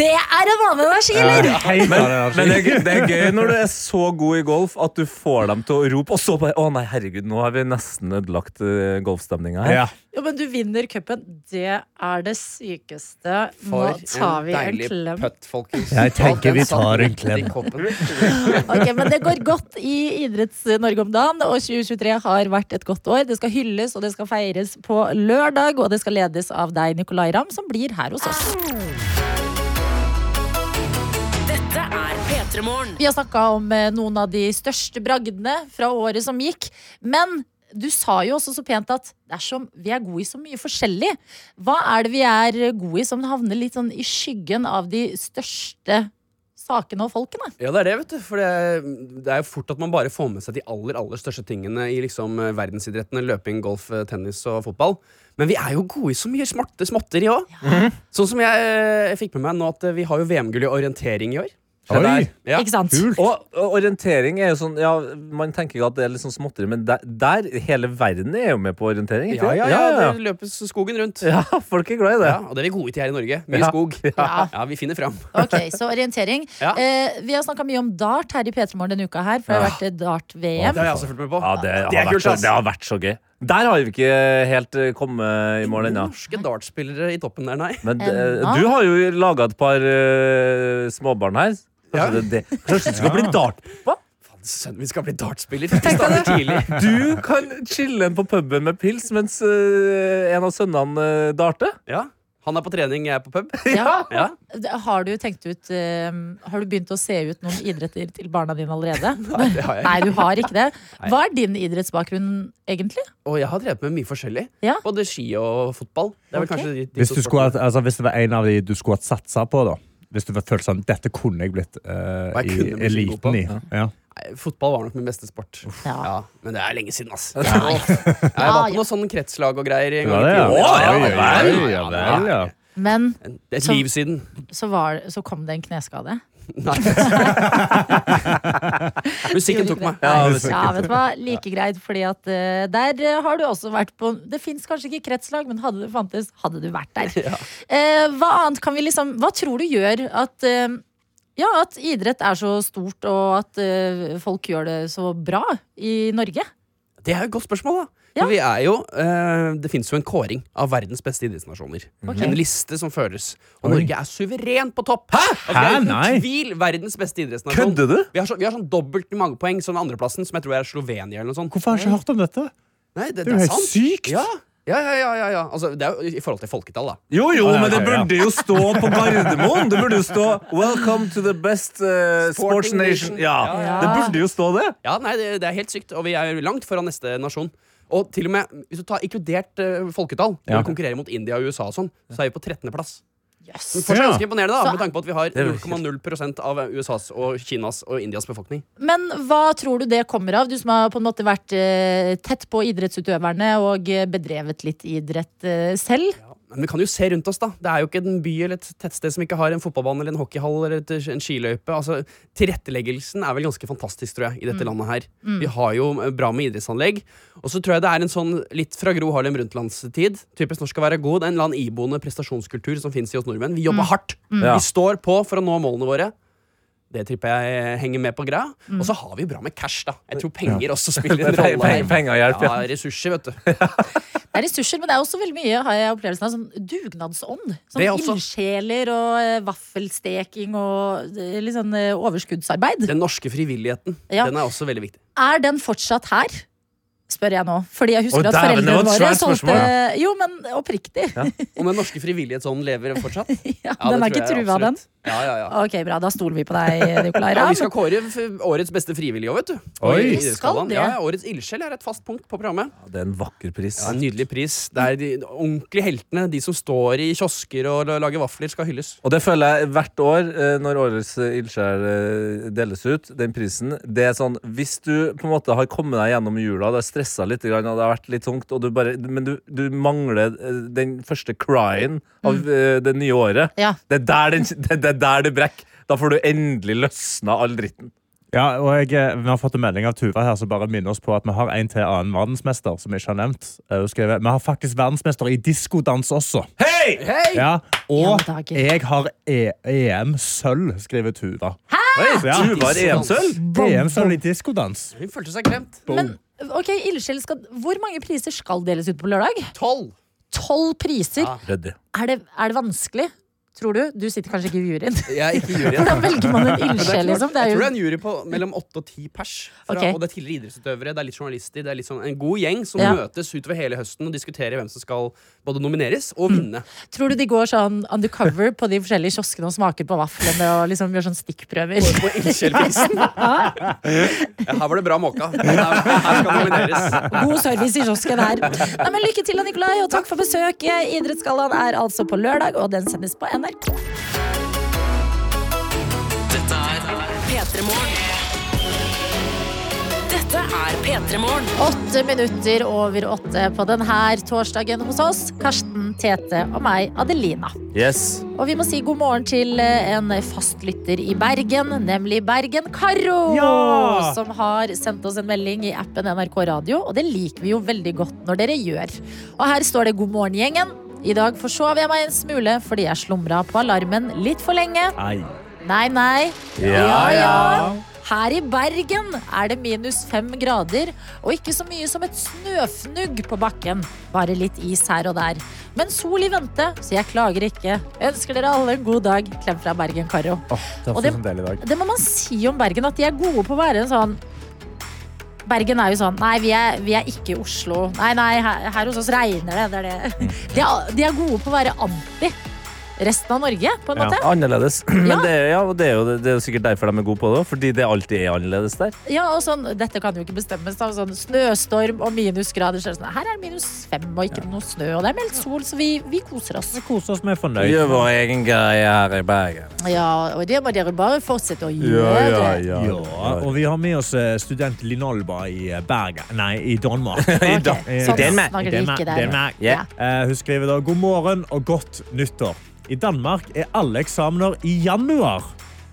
C: Det er en vanlig energi,
E: Ja,
C: eller?
E: helt
D: Men,
E: av energi.
D: men det, er, gøy- det er gøy når du er så god i golf at du får dem til å rope, og så bare Å nei, herregud, nå har vi nesten ødelagt eh, golfstemninga her.
E: ja.
C: Jo, men du vinner cupen. Det er det sykeste. Nå
H: For
C: tar vi en
H: deilig
C: klem.
H: putt, folkens.
E: Jeg tenker
H: Ja, den
E: vi
H: satt
E: tar en
H: rett i
E: klem.
H: koppen.
C: Ok, men det går godt i Idretts-Norge om dagen, og 2023 har vært et godt år. Det skal hylles og det skal feires på lørdag, og det skal ledes av deg, Nicolay Ramm, som blir her hos oss.
B: Dette er P3 Morgen.
C: Vi har snakka om eh, noen av de største bragdene fra året som gikk. Men du sa jo også så pent at det er som, vi er gode i så mye forskjellig. Hva er det vi er gode i som havner litt sånn i skyggen av de største sakene og folkene?
H: Ja, det er det, vet du. For det, det er jo fort at man bare får med seg de aller aller største tingene i liksom eh, verdensidrettene løping, golf, eh, tennis og fotball. Men vi er jo gode i så mye Mhm. smarte småtteri òg. Sånn som jeg, eh, jeg fikk med meg nå at eh, vi har jo VM-gull i orientering i år.
D: Det der.
E: Oi!
H: Ja.
C: Ikke sant?
E: Kult.
D: Og og orientering er jo sånn Ja, man tenker jo at det er litt sånn småtteri, men der, der Hele verden er jo med på orientering. ikke
H: Ja, ja,
D: det?
H: ja,
D: ja,
H: det løpes skogen rundt.
D: ja. ja, folk er glad i det.
H: Ja, og det er vi gode til her i Norge. Mye
D: Ja.
H: skog.
C: Ja.
H: Ja, vi finner fram.
C: Ok, så orientering.
H: Ja.
C: Eh, vi har snakka mye om dart her i P3 Morgen denne uka her, for det har vært eh,
H: Det
C: dart-VM.
H: har jeg også fulgt med på.
D: Ja, det, har
H: Det er
D: vært
H: kult,
D: så,
H: ass.
D: det har vært så gøy. Der har vi ikke helt eh, kommet i mål ennå.
H: Norske dartspillere i toppen der, nei.
D: Men eh,
C: Ennå?
D: du har jo laga et par eh, småbarn her. Kanskje det, er det. Kanskje du skal bli dartpappa?
H: Sønn, vi skal bli dartspiller. Vi starter tidlig.
D: Du kan chille en på puben med pils mens eh, en av sønnene eh, darter.
H: Ja. Han er på trening, jeg er på pub.
C: Ja.
H: Ja.
C: Har du tenkt ut eh, Har du begynt å se ut noen idretter til barna dine allerede?
H: Nei, det har jeg ikke.
C: Nei, du har ikke det. Hva er din idrettsbakgrunn, egentlig?
H: Og jeg har drevet med mye forskjellig.
C: Ja.
H: Både ski og fotball. Det er vel
C: Ok.
H: kanskje de, de
E: Hvis,
H: to
E: du skulle,
H: sportene.
E: hatt- altså, hvis det var en av de du skulle hatt satsa på, da. Hvis du følte sånn Dette kunne jeg blitt eh,
H: Hva
E: i
H: jeg kunne blitt så god
E: eliten i.
H: på.
E: Ja.
H: Nei, Fotball var nok min beste sport.
C: Ja.
H: Men det er lenge siden, ass. Ja. Jeg var på noe sånn kretslag og greier.
E: Det
H: En
E: var
H: gang i
E: det, ja.
H: tiden.
E: Oi,
H: Ja,
E: oi,
H: ja, ja,
E: oi,
H: ja,
E: ja vel, ja.
C: Men
H: Det er et
C: Som-
H: liv siden.
C: så, var, så kom det en kneskade.
H: Nei. Musikken tok meg.
C: Ja,
E: det er
C: ja, vet du hva? Like greit, fordi at eh, der eh, har du også vært på Det fins kanskje ikke kretslag, men hadde det fantes, hadde du vært der. Eh, hva annet kan vi liksom Hva tror du gjør at eh, ja, at idrett er så stort, og at eh, folk gjør det så bra i Norge.
H: Det er jo et godt spørsmål, da.
C: Ja.
H: For vi er jo, eh, det fins jo en kåring av verdens beste idrettsnasjoner.
C: Ok.
H: En liste som føres. Og
E: Oi.
H: Norge er suveren på topp! Hæ? Altså, det er
E: Hæ?
H: uten
E: Nei.
H: tvil verdens beste idrettsnasjon.
D: Kødder du?
H: Vi har, så, vi har sånn dobbelt mange poeng som den andreplassen, som jeg tror er Slovenia eller noe sånt.
E: Hvorfor har jeg ikke hørt om dette?
H: Nei, det,
E: Det er jo helt
H: sant.
E: sykt.
H: Ja. Ja, ja, ja, ja, ja. Altså, det er jo i forhold til folketall, da.
D: Jo, jo,
E: Ja, ja,
D: men det
E: ja, ja.
D: burde jo stå på Gardermoen! Det burde jo stå 'Welcome to the best eh, sports
H: Sporting
D: nation'.
H: nation.
D: Ja,
H: Ja,
C: ja.
D: Det burde jo stå det!
H: Ja, nei, det, det er helt sykt, og vi er jo langt foran neste nasjon. Og til og med, hvis du tar inkludert eh, folketall,
E: Ja.
H: når vi konkurrerer mot India og USA og sånn, så er vi på 13. plass.
C: Yes.
H: Men Fortsatt
E: Ja.
H: ganske imponerende,
C: Så-
H: da, med tanke på at vi
D: er jo
H: har 0,0 av USAs og Kinas og Indias befolkning.
C: Men hva tror du det kommer av? Du som har på en måte vært eh, tett på idrettsutøverne og eh, bedrevet litt idrett eh, selv.
H: Men vi kan jo se rundt oss, da. Det er jo ikke en by eller et tettsted som ikke har en fotballbane eller en hockeyhall eller et, en skiløype. Altså, tilretteleggelsen er vel ganske fantastisk, tror jeg, i dette landet her. Vi har jo eh, bra med idrettsanlegg. Og så tror jeg det er en sånn litt fra Gro Harlem Brundtlands-tid. Typisk norsk å være god. Det er en eller annen iboende prestasjonskultur som fins i oss nordmenn. Vi jobber hardt.
D: Ja.
H: Vi står på for å nå målene våre. Det tripper jeg eh, henger med på greia. Og så har vi bra med cash, da. Jeg tror penger også spiller en
D: Pe-
H: rolle.
D: pe-
H: her.
D: Penger hjelper.
H: Ja,
D: Ja.
H: ressurser, vet du.
C: Det er ressurser, men det er også veldig mye har jeg opplevelsen av sånn dugnadsånd. Sånn
H: Det er også-
C: ildsjeler og eh, vaffelsteking og eh, litt sånn eh, overskuddsarbeid.
H: Den norske frivilligheten.
C: Ja.
H: Den er også veldig viktig.
C: Er den fortsatt her? Spør jeg nå. Fordi jeg
D: Å,
C: husker at
D: dæven, det
C: foreldrene
D: var et
C: våre
D: svært
C: solgte
D: spørsmål,
C: Jo, men oppriktig. Ja,
H: Om den norske frivillighetsånden lever fortsatt? Ja,
C: den er
H: det
C: ikke
H: tror jeg
C: trua, den.
H: absolutt. Ja, ja, ja.
C: Ok, bra. Da stoler vi på deg, Nicolay
H: Ja, vi
C: Ramm.
H: skal kåre f- årets beste frivillige òg, vet du.
E: Oi.
H: I
C: Vi skal
H: idrettsgallaen.
C: det.
H: Ja, ja, årets ildsjel er et fast punkt på programmet.
D: Det er en vakker pris.
H: Ja, en Nydelig pris. Det er de ordentlige heltene, de som står i kiosker og la- lager vafler, skal hylles.
D: Og det føler jeg hvert år eh, når Årets eh, ildsjel eh, deles ut, den prisen. Det er sånn, Hvis du på en måte har kommet deg gjennom jula, det har stressa litt, grann, og det har vært litt tungt, og du bare, men du, du mangler eh, den første cryen av eh, det nye året
C: Mm. Ja.
D: Det er der, den, det, det, er der det brekker. Da får du endelig løsna all dritten.
E: Ja, og jeg, eh, Vi har fått en melding av Tuva her som bare minner oss på at vi har en til annen verdensmester. som jeg ikke har nevnt. Eh, Hun skriver, Vi har faktisk verdensmester i diskodans også. Ja, og
C: Ja, dager.
E: jeg har E- EM-sølv, skriver Tuva.
D: Oi,
E: Ja.
D: du var EM-sølv!
E: EM-sølv i diskodans.
H: Hun følte seg glemt.
C: Men ok, ildsjel skal Hvor mange priser skal deles ut på lørdag?
H: Tolv!
C: Tolv priser.
H: Ja.
D: Ryddig.
C: Er, det, er det vanskelig? Tror du? Du sitter kanskje ikke i juryen.
H: Jeg er ikke juryen.
C: Hvordan velger man en
H: Men det er
C: ildsjel,
H: klart,
C: liksom? Det er
H: jeg tror
C: jo
H: det er en jury på mellom åtte og ti pers. Fra,
C: Ok.
H: Og det er tidligere idrettsutøvere, det er litt journalister, det er litt sånn en god gjeng som
C: Ja.
H: møtes utover hele høsten og diskuterer hvem som skal både nomineres
C: Mm.
H: og vinne.
C: Tror du de går sånn undercover på de forskjellige kioskene og smaker på vaflene og liksom gjør sånn stikkprøver?
H: På ildsjelprisen. Ja, her var det bra måka. Her, her skal nomineres.
C: God service i kiosken her. Nei, men lykke til, Nikolai, og takk for besøket. Idrettsgallaen er altså på lørdag, og den sendes på NRK.
B: P3 Morgen. Dette er P3 P3morgen.
C: Åtte minutter over åtte på denne torsdagen hos oss. Karsten, Tete og meg, Adelina.
D: Yes.
C: Og vi må si god morgen til eh, en fastlytter i Bergen, nemlig Bergen Karo.
E: Ja!
C: Som har sendt oss en melding i appen NRK Radio, og det liker vi jo veldig godt når dere gjør. Og her står det God morgen, gjengen. I dag forsov jeg meg en smule fordi jeg slumra på alarmen litt for lenge.
E: Nei.
C: Nei, nei.
D: Ja,
C: ja. Her i Bergen er det minus fem grader, og ikke så mye som et snøfnugg på bakken. Bare litt is her og der. Men sol i vente, så jeg klager ikke. Ønsker dere alle en god dag. Klem fra Bergen, Karo.
E: Åh, det
C: Og
E: var
C: det-
E: en deilig dag.
C: Det må man si om Bergen, at de er gode på å være en sånn Bergen er jo sånn Nei, vi er, vi er ikke i Oslo. Nei, nei, her, her hos oss regner det. det, er
E: Mm.
C: det. De, er, de er gode på å være anti resten av Norge, på en
E: Ja.
C: måte.
D: Annerledes. Men
C: Ja.
D: det, er- ja, og det, er jo, det er jo sikkert derfor de er gode på det, fordi det alltid er annerledes der.
C: Ja, og sånn, dette kan jo ikke bestemmes av sånn snøstorm og minusgrader. Så er det sånn, her er det minus fem og ikke noe snø, og det er meldt sol, så vi, vi koser oss.
E: Vi koser oss med
D: Vi
E: fornøyd.
D: gjør vår egen greie her i Bergen.
C: Ja, og det må dere bare fortsette å
D: Ja,
C: gjøre.
D: ja, ja.
E: Ja, og vi har med oss eh, student Linn Olba i eh, Bergen Nei, i Danmark. Eh,
D: I dag-
C: Ok, sånn
D: I Danmark.
C: snakker vi ikke der.
E: Danmark.
C: Ja.
E: Eh, Hun skriver da God morgen og godt nyttår. I Danmark er alle eksamener i januar,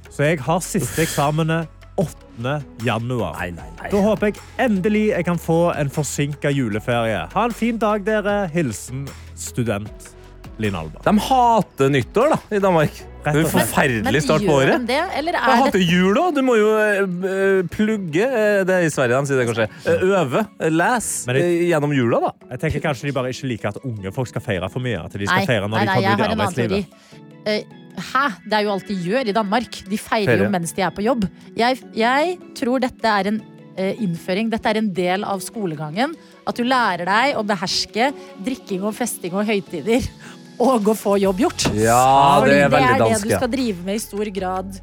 E: så jeg har siste eksamene 8. januar.
D: Nei, nei, nei.
E: Da håper jeg endelig jeg kan få en forsinka juleferie. Ha en fin dag, dere. Hilsen student Linn Alba.
D: De hater nyttår da, i Danmark. Det er
E: Rett
D: en
E: og slett.
D: forferdelig start på
C: gjør de
D: året.
C: det, eller
D: Jeg
C: er det
D: hater jul òg. Du må jo eh, plugge eh, Det er i Sverige de sier det, kanskje. Eh, Øve. eh, Les
E: Men det-
D: eh, gjennom jula, da.
E: Jeg tenker Kanskje de bare ikke liker at unge folk skal feire for mye. At de skal
C: Nei,
E: feire når
C: nei,
E: de
C: nei,
E: kommer
C: jeg
E: ut i
C: har en annen teori.
E: arbeidslivet.
C: Eh, Hæ? Det er jo alt de gjør i Danmark. De feirer
D: Ferie.
C: jo mens de er på jobb. Jeg, jeg tror dette er en eh, innføring. Dette er en del av skolegangen. At du lærer deg å beherske drikking og festing og høytider. Og å få jobb gjort.
D: Ja,
C: Fordi
D: det er
C: det
D: veldig
C: er det
D: dansk.
C: du skal drive med i stor grad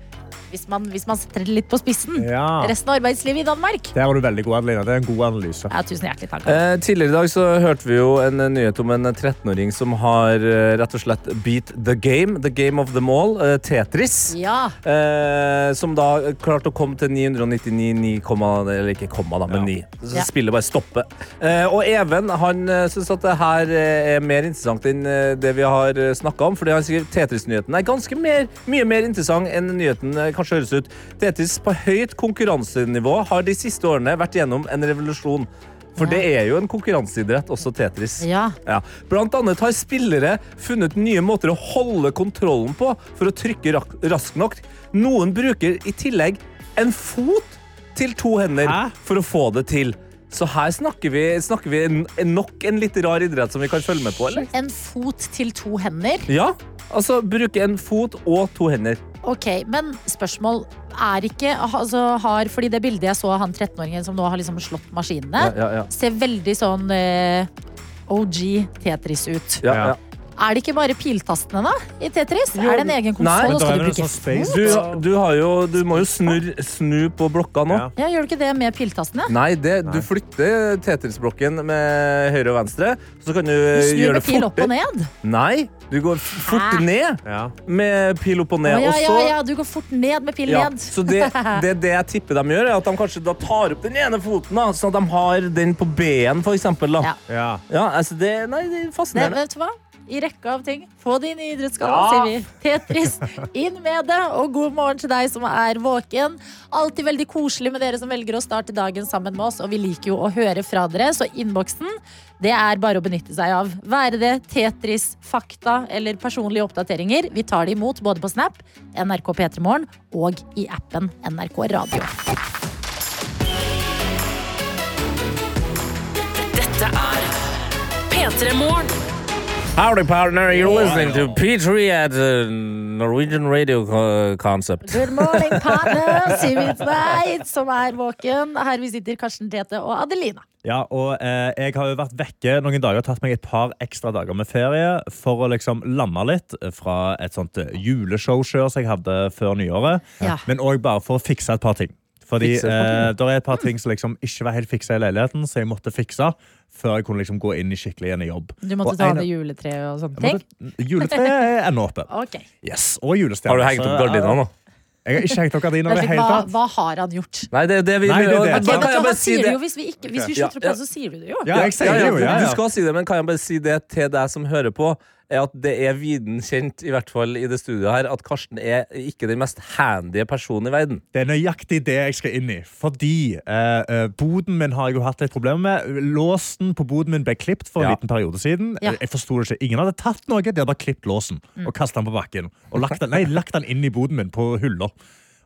C: hvis man, hvis man setter det litt på spissen.
E: Ja.
C: Resten av arbeidslivet i Danmark.
E: Der er du veldig god, Adelina. Det er en god analyse.
C: Ja, tusen hjertelig takk.
D: Eh, tidligere i dag så hørte vi jo en eh, nyhet om en eh, 13-åring som har eh, rett og slett beat the game. The game of them all. eh, Tetris.
C: Ja.
D: Eh, som da klarte å komme til 999, komma, eller ikke komma, da, men 9. Så
C: Ja.
D: spillet bare stopper. Eh, og Even han eh, syns at det her eh, er mer interessant enn eh, det vi har snakka om. fordi han sier Tetris-nyheten er ganske mer, mye mer interessant enn nyheten eh, kanskje høres ut. Tetris på høyt konkurransenivå har de siste årene vært gjennom en revolusjon. For det er jo en konkurranseidrett, også Tetris.
C: ja.
D: Ja. Blant annet har spillere funnet nye måter å holde kontrollen på for å trykke rak raskt nok. Noen bruker i tillegg en fot til to hender
E: Hæ?
D: for å få det til. Så her snakker vi, snakker vi en, en nok en litt rar idrett som vi kan følge med på, eller?
C: En fot til to hender.
D: Ja, altså bruke en fot og to hender.
C: Ok, men spørsmål er ikke altså, har, Fordi det bildet jeg så av han 13-åringen som nå har liksom slått maskinene,
D: Ja, ja, ja.
C: ser veldig sånn eh, OG Tetris ut.
D: Ja, ja.
C: Er det ikke bare piltastene da, i Tetris? er det en egen
D: Nei,
C: konsoll?
D: men
C: og
E: da
C: Skal
E: er
C: du
E: det
C: bruke
E: sånn space.
C: fot?
D: Du, du, har jo, du må jo snurr, snu på blokka nå.
E: Ja.
C: Ja, gjør du ikke det med piltastene?
D: Nei, det, du flytter Tetris-blokken med høyre og venstre. Så kan du,
C: Du snur
D: gjøre Eh, det
C: med pil opp og
D: fortere.
C: ned?
D: Nei, du går f- fort
C: Hæ?
D: ned
E: Ja.
D: med pil opp og ned.
C: Å, ja,
D: og
C: ja,
D: så,
C: ja, du går fort ned med pil
D: Eh, Ja,
C: ned.
D: så det, det, det jeg tipper de gjør, er at de kanskje da tar opp den ene foten, da, sånn at de har den på B-en, for eksempel. Da.
C: Ja.
D: Ja.
E: Ja.
D: altså det, nei, det er
C: Nei,
D: fascinerende.
C: vet du hva? I rekka av ting. Få det inn i idrettsgallaen, sier vi. Tetris, inn med det. Og god morgen til deg som er våken. Alltid veldig koselig med dere som velger å starte dagen sammen med oss. Og vi liker jo å høre fra dere, så innboksen det er bare å benytte seg av. Være det Tetris, fakta eller personlige oppdateringer. Vi tar det imot både på Snap, NRK P3morgen og i appen NRK Radio.
B: Dette er P3morgen.
D: Howdy, partner. You're listening to P3 at uh, Norwegian Radio Concept.
C: Good morning, partner, sier vi til deg som er våken. Her vi sitter, Karsten Tete og Adelina.
E: Ja, og eh, jeg har jo vært vekke noen dager og tatt meg et par ekstra dager med ferie for å liksom lande litt fra et sånt eh, juleshowkjør som jeg hadde før nyåret,
C: Ja.
E: men òg bare for å fikse et par ting. Fordi
D: Fikse et par
E: eh, det er et par ting som liksom ikke var helt fiksa i leiligheten, så jeg måtte fikse før jeg kunne liksom gå inn i skikkelig igjen i jobb.
C: Du måtte
E: Og
C: ta
E: en-
C: ned juletreet og sånne
E: Jeg
C: ting?
E: måtte- Juletreet er ennå oppe.
C: Ok.
E: Yes, og julestjernen.
D: Har du hengt opp gardina nå?
E: Jeg har ikke hengt noe av det inn i det
C: Slik,
E: hele
C: hva,
E: tatt.
C: hva har han gjort?
D: Nei, det er det vi
E: Nei, det er det.
D: Bare-
E: Ok,
C: Ja,
D: bare- kan
C: men
D: jeg bare
C: han
D: si
C: sier det
D: det?
C: jo hvis vi, ikke, hvis vi
D: Ja,
C: slutter på
D: ja.
C: det, så sier du det jo.
E: Ja, jeg
D: Ja,
E: sier det
D: ja,
E: jo. Ja,
D: Du
E: ja.
D: skal si det, men kan jeg bare si det til deg som hører på? Er at det er viden kjent, i hvert fall i det studioet her, at Karsten er ikke den mest handy personen i verden.
E: Det er nøyaktig det jeg skal inn i. Fordi eh, eh, boden min har jeg jo hatt litt problemer med. Låsen på boden min ble klippet for en
D: Ja.
E: liten periode siden.
C: Ja. Mm.
E: Jeg forsto det ikke. Ingen hadde tatt noe. De hadde bare klippet låsen og kastet den på bakken. Og lagt den, nei, lagt den inn i boden min på hyller.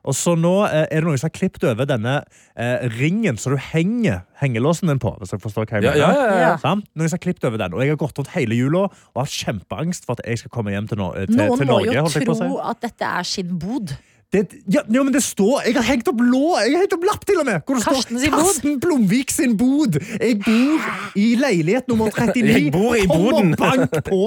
E: Og så nå eh, er det noen som har klippet over denne eh, ringen som du henger hengelåsen din på. hvis jeg forstår hva jeg
D: Ja,
E: mener.
D: ja, ja, ja.
C: Ja.
E: Sant? Noen som har klippet over den. Og jeg har gått rundt hele jula og har kjempeangst for at jeg skal komme hjem til, Nor til,
C: Noen
E: til
C: må
E: Norge.
C: jo
E: holdt jeg på å si.
C: tro at dette er sin bod.
E: Det, ja, jo, men det står Jeg har hengt opp lå, jeg har hengt opp lapp til og med! Hvor det
C: Karsten
E: står
C: sin bod.
E: Karsten Blomvik sin bod! Jeg bor i leilighet nummer 39.
D: Jeg bor i
E: Kom
D: boden.
E: og bank på,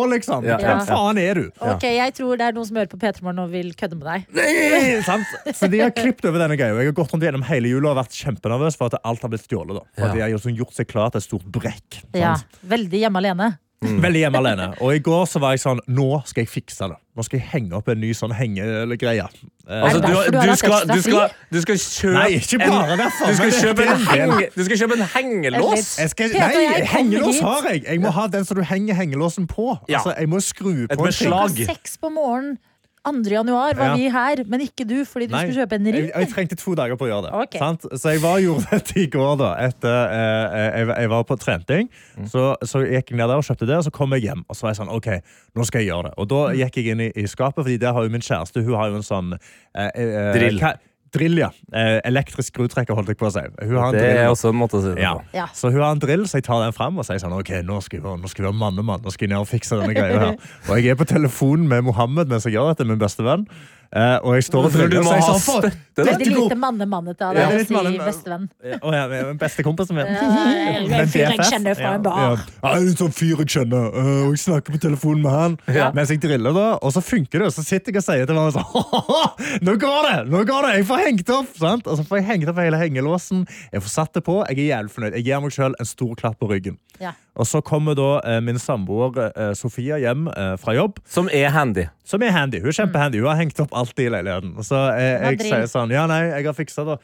E: liksom!
D: Ja.
E: Hvem faen er du?
C: Ok, Jeg tror det er noen som hører på P3 Morgen og vil kødde med deg.
E: Sant? Så de har klippet over denne greia. Jeg har gått rundt gjennom hele jula og vært kjempenervøs for at alt har blitt stjålet. da. For
D: Ja.
E: de har liksom gjort seg klar til et stort brekk. sant?
C: Ja, Veldig hjemme alene.
D: Mm.
E: Veldig hjemme alene. Og i går så var jeg sånn Nå skal jeg fikse det. Nå skal jeg henge opp en ny sånn hengegreie. Eh,
D: Altså,
C: Er det
D: du,
C: derfor du har
D: du,
C: hatt
D: skal,
C: ekstra
D: du, skal,
C: fri?
D: du skal kjøpe
E: Nei, ikke bare derfor,
D: Du skal
E: men
D: kjøpe
E: det
D: en,
E: er en del.
D: henge, du skal kjøpe en hengelås!
E: Jeg skal,
C: Peter,
E: nei,
C: jeg kommer
E: hengelås
C: hit.
E: har jeg. Jeg må ha den som du henger hengelåsen på.
D: Ja.
E: Altså, jeg må skru på en ting.
D: beslag. Dag.
C: Klokka seks på morgenen 2. januar var
E: Ja.
C: vi her, men ikke du, fordi du
E: Nei,
C: skulle kjøpe en
E: jeg, jeg
C: ring.
E: trengte to dager på å gjøre det.
C: Ok.
E: Sant? Så jeg var og gjorde dette i går. da etter, eh, jeg, jeg var på trening.
D: Mm.
E: Så, så gikk jeg ned der og kjøpte det, og så kom jeg hjem. Og så var jeg sånn, ok, nå skal jeg gjøre det. Og da
C: Mm.
E: gikk jeg inn i, i skapet, Fordi der har jo min kjæreste hun har jo en sånn eh, eh,
D: Drill.
E: hva- Drill, ja. Eh, elektrisk skrutrekker, holdt jeg på å si. Hun har en
D: Det
E: drill.
D: er også en måte å si det
E: Ja.
D: på.
C: Ja.
E: Så hun har en drill, så jeg tar den frem og sier sånn, ok, nå skal vi, nå skal vi være mannemann, nå skal jeg ned og fikse denne greia her. Og jeg er på telefonen med Mohammed mens jeg gjør dette, min beste venn. Eh, og jeg står og
D: For du
E: driller og
D: må
E: sier
D: ha
E: sånn, for-
D: støtte. da.
C: Veldig lite mannemannete av
E: Ja,
C: deg å
E: litt
C: si
E: mannemann-
C: bestevenn.
E: Å ja, men beste kompisen min.
C: jeg er en fyr jeg kjenner fra en bar.
E: Ja, ja. Jeg er en sånn fyr jeg kjenner, eh, og jeg snakker på telefonen med han. Mens jeg driller, da, og så funker det. Og så sitter jeg og sier til hverandre sånn Nå går det! nå går det, Jeg får hengt opp! sant? Og så får jeg hengt opp hele hengelåsen. Jeg får satt det på. Jeg er jævlig fornøyd. Jeg gir meg sjøl en stor klapp på ryggen.
C: Ja.
E: Og så kommer da eh, min samboer eh, Sofia hjem eh, fra jobb,
D: Som er handy.
E: som er handy. Hun er kjempehandy. Hun har hengt opp alt i leiligheten. Og så eh, jeg
C: Madrid.
E: sier sånn Ja, nei, jeg har fiksa det.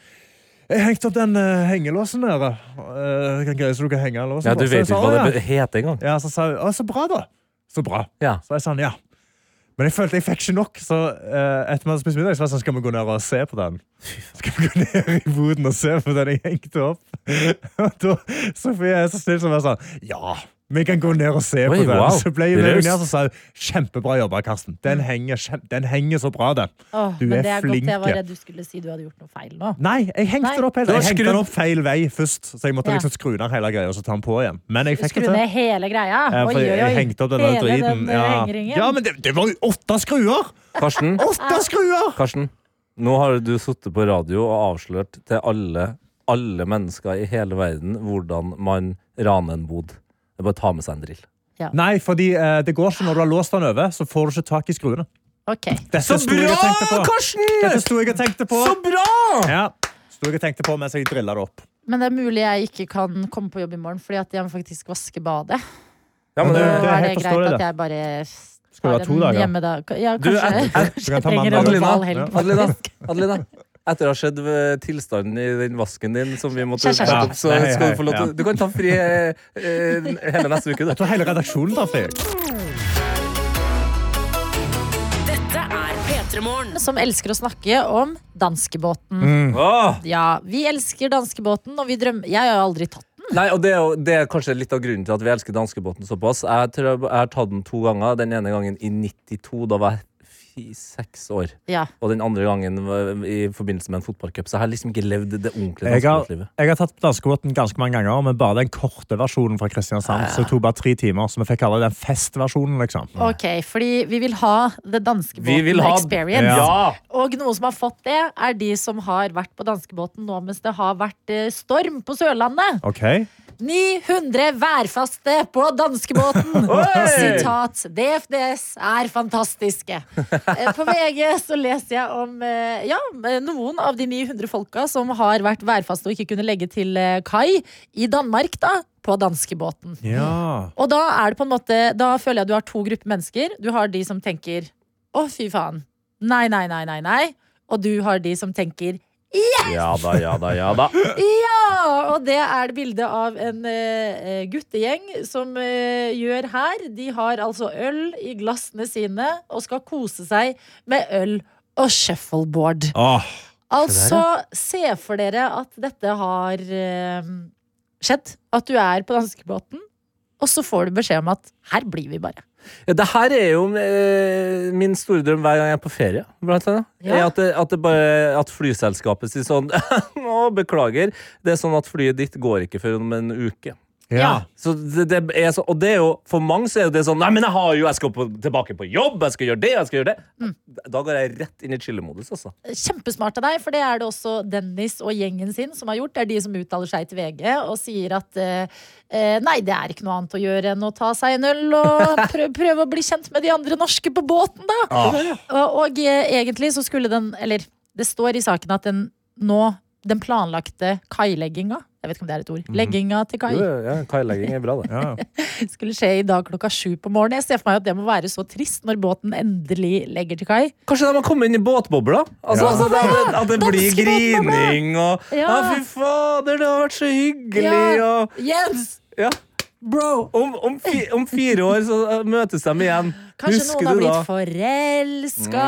E: Jeg hengte opp den eh, hengelåsen der. da. Eh, hva greie som du kan henge låsen
D: Ja, du
E: på. Så
D: vet
E: jeg
D: ikke
E: sa,
D: hva
E: «Å,
D: det heter engang.
E: ja. ja, Så sa hun Å, så bra, da. Så bra.
D: Ja.
E: Så jeg sa ja. Men jeg følte jeg fikk ikke nok, så eh, etter man spiste middag, så var jeg sånn, skal vi gå ned og se på den. Skal vi gå ned i boden og se på den jeg hengte opp? Og da Sofie er så snill som er sånn, ja, vi kan gå ned og se
D: Oi,
E: på den.
D: wow.
E: Så ble jeg med
D: Raust.
E: ned og sa, hun, kjempebra jobba, Karsten. Den henger, kjem- den henger så bra, den.
C: Åh,
E: Du
C: men
E: er
C: det er godt jeg
E: flink,
C: var
E: ja.
C: redd du skulle si du hadde gjort noe feil nå.
E: Nei, jeg hengte
C: Nei.
E: den opp
D: Du
E: hele
D: har
E: Jeg hengte den
D: skrudd-
E: opp feil vei først, så jeg måtte
C: Ja.
E: liksom skru ned hele greia og så ta den på igjen. Men jeg fikk
C: Skru
E: det til.
C: ned hele greia.
E: Ja,
C: Oi,
E: Eh, for
C: oi, oi.
E: jeg hengte opp den der
C: Hele
E: driten.
C: den, eh, hengeringen.
E: ja. ja, men det, det var jo åtte skruer!
D: Karsten,
C: Ah.
E: Åtte skruer!
D: Karsten, nå har du sittet på radio og avslørt til alle, alle mennesker i hele verden hvordan man raner en bod. Det er bare å ta med seg en drill.
E: Nei, fordi eh, det går ikke når du har låst den over, så får du ikke tak i skruene.
C: Ok.
E: Dette sto jeg og tenkte på. Dette sto jeg og tenkte på.
D: bra!
E: Ja. Sto jeg og tenkte på mens jeg drilla det opp.
C: Men det er mulig jeg ikke kan komme på jobb i morgen, fordi at jeg må faktisk vaske badet.
D: Ja, men
E: Det-
C: Da
E: det er
D: du,
C: er
E: helt
C: det greit
E: forståelig,
C: at
E: det.
C: jeg bare
E: Skal du ha
C: tar
E: to
C: en
E: dager?
C: hjemmedag. Ja,
D: Du,
C: kanskje.
D: et- et-
E: Du kan ta
C: trenger en
E: mandag.
C: normal
D: Adelina,
C: helg.
D: Adelina, Adelina. Etter å ha sett eh, tilstanden i den vasken din, som vi måtte
C: Kjæ, kjæ,
D: rette
C: kjæ.
D: opp, så
E: Ja.
D: skal du få lov
E: Ja.
D: til Du kan ta fri eh, eh, hele neste uke,
E: Jeg
D: du.
E: tror hele redaksjonen tar fri.
B: Dette er P3 Morgen.
C: Som elsker å snakke om danskebåten.
D: Åh!
C: Ja, vi elsker danskebåten, og vi drømmer Jeg har jo aldri tatt den.
D: Nei, og det er, jo, det er kanskje litt av grunnen til at vi elsker danskebåten såpass. Jeg tror jeg jeg har tatt den to ganger. Den ene gangen i 92, da var jeg fi- seks år.
C: Ja.
D: Og den andre gangen var i forbindelse med en fotballcup. Så jeg har liksom ikke levd det ordentlige
E: Jeg har,
D: danskebåtlivet.
E: jeg har tatt danskebåten ganske mange ganger, men bare den korte versjonen fra Kristiansand. Så det tok bare tre timer, så vi fikk alle den festversjonen, liksom.
C: Ok, fordi vi vil ha The
D: Vi vil
C: Danskebåten
D: ha-
C: Experience.
D: Ja.
C: Og noen som har fått det, er de som har vært på danskebåten nå mens det har vært eh, storm på Sørlandet.
E: Ok?
C: 900 værfaste på danskebåten! Sitat. DFDS er fantastiske. Eh, På VG så leser jeg om eh, ja, noen av de 900 folka som har vært værfaste og ikke kunne legge til eh, kai i Danmark, da, på danskebåten.
E: Ja.
C: Og da er det på en måte Da føler jeg at du har to grupper mennesker. Du har de som tenker Å, fy faen. Nei, nei, nei, nei, nei. og du har de som tenker
D: Ja da, ja da, ja da.
C: ja! Og det er det bilde av en eh, guttegjeng som eh, gjør her. De har altså øl i glassene sine og skal kose seg med øl og shuffleboard.
E: Åh,
C: Altså, se for dere at dette har eh, skjedd. At du er på danskebåten, og så får du beskjed om at her blir vi bare.
D: Ja, det her er jo eh, min store drøm hver gang jeg er på ferie. Blant annet.
C: Ja.
D: Er At, det, at, det bare, at flyselskapet sier sånn Å, beklager. Det er sånn at flyet ditt går ikke før om en uke.
E: ja.
D: Så det, det er så, og det er jo, for mange så er jo det sånn Nei, men jeg har jo, jeg skal på, tilbake på jobb, jeg skal gjøre det, jeg skal gjøre det.
C: Mm.
D: Da går jeg rett inn i chillemodus, altså.
C: Kjempesmart av deg, for det er det også Dennis og gjengen sin som har gjort. Det er de som uttaler seg til VG og sier at eh, eh, nei, det er ikke noe annet å gjøre enn å ta seg en øl og prøve, prøve å bli kjent med de andre norske på båten, da. Og, og eh, egentlig så skulle den, eller det står i saken at den nå, den planlagte kailegginga, jeg vet ikke om det er et ord, legginga til kai,
D: Jo, ja, Kailegging er bra, det.
E: ja.
C: skulle skje i dag klokka sju på morgenen. Jeg ser for meg at det må være så trist når båten endelig legger til kai.
D: Kanskje de har kommet inn i båtbobla? Altså,
E: Ja.
D: altså, at, det, at det blir
C: Danskebåtbobla!
D: grining og ja.
C: Ja.
D: fy fader, det har vært så hyggelig
C: Ja.
D: og
C: Jens!
D: Ja. Bro! Om, om, fi, om fire år så uh, møtes de igjen.
C: Kanskje
D: Husker
C: noen har
D: du da?
C: blitt forelska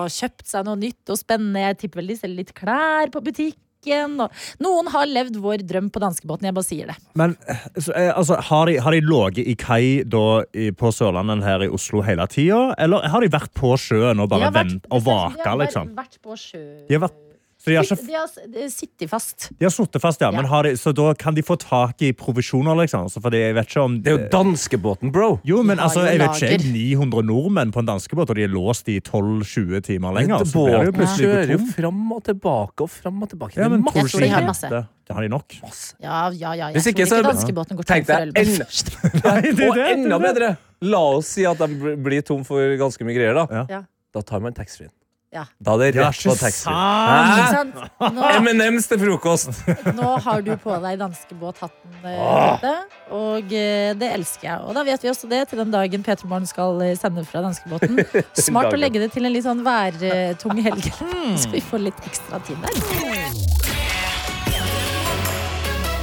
C: og kjøpt seg noe nytt og spennende. Jeg tipper vel de selger litt klær på butikken. Og noen har levd vår drøm på danskebåten. Jeg bare sier det.
E: Men så, eh, altså, har de, har de ligget i kai da, i, på Sørlandet her i Oslo hele tida? Eller har de vært på sjøen og
C: De
E: bare
C: har vært- sånn,
E: vent og
C: de
E: vaka,
C: har
E: liksom?
C: vært på sjø.
E: De har vært så de har, ikke,
C: De har s- de har sittet fast.
E: de har sittet fast, ja,
C: Ja.
E: men har de, så da kan de få tak i provisjoner, liksom? Så fordi jeg vet ikke om
D: Det er jo danskebåten, bro!
E: Jo, men
C: De har
E: altså,
C: jo
E: jeg vet ikke,
C: lager.
E: jeg er 900 nordmenn på en danskebåt, og de er låst i 12-20 timer lenger. Så blir det altså. jo
D: Båten
E: plutselig
D: kjører jo
E: tom.
D: fram og tilbake og fram og tilbake.
E: Ja, men
D: det er
C: Jeg tror de har
E: provisjoner-
C: masse.
E: Det det har de nok.
D: masse.
C: Ja, ja, ja. Jeg
D: Hvis ikke,
C: tror
D: så-
C: ikke danskebåten går tom
D: Tenk
C: for
D: deg
C: øl.
D: enda-
E: Nei, det er
D: Og
E: det, det er
D: enda
E: det.
D: bedre! La oss si at de bl- blir tom for ganske mye greier, da.
C: Ja.
D: Da tar man taxfree-en.
C: Ja.
D: Da er det
E: Ja,
D: rett på
E: ikke
D: taxfree.
C: Ikke
D: Hæ?
C: sant? Nå,
D: M&M's til frokost!
C: nå har du på deg danskebåthatten, eh,
D: Åh.
C: Tete, og eh, det elsker jeg. Og da vet vi også det til den dagen P3 Morgen skal eh, sende fra danskebåten. Smart å
D: Dagen.
C: legge det til en litt sånn værtung helg, så vi får litt ekstra tid der.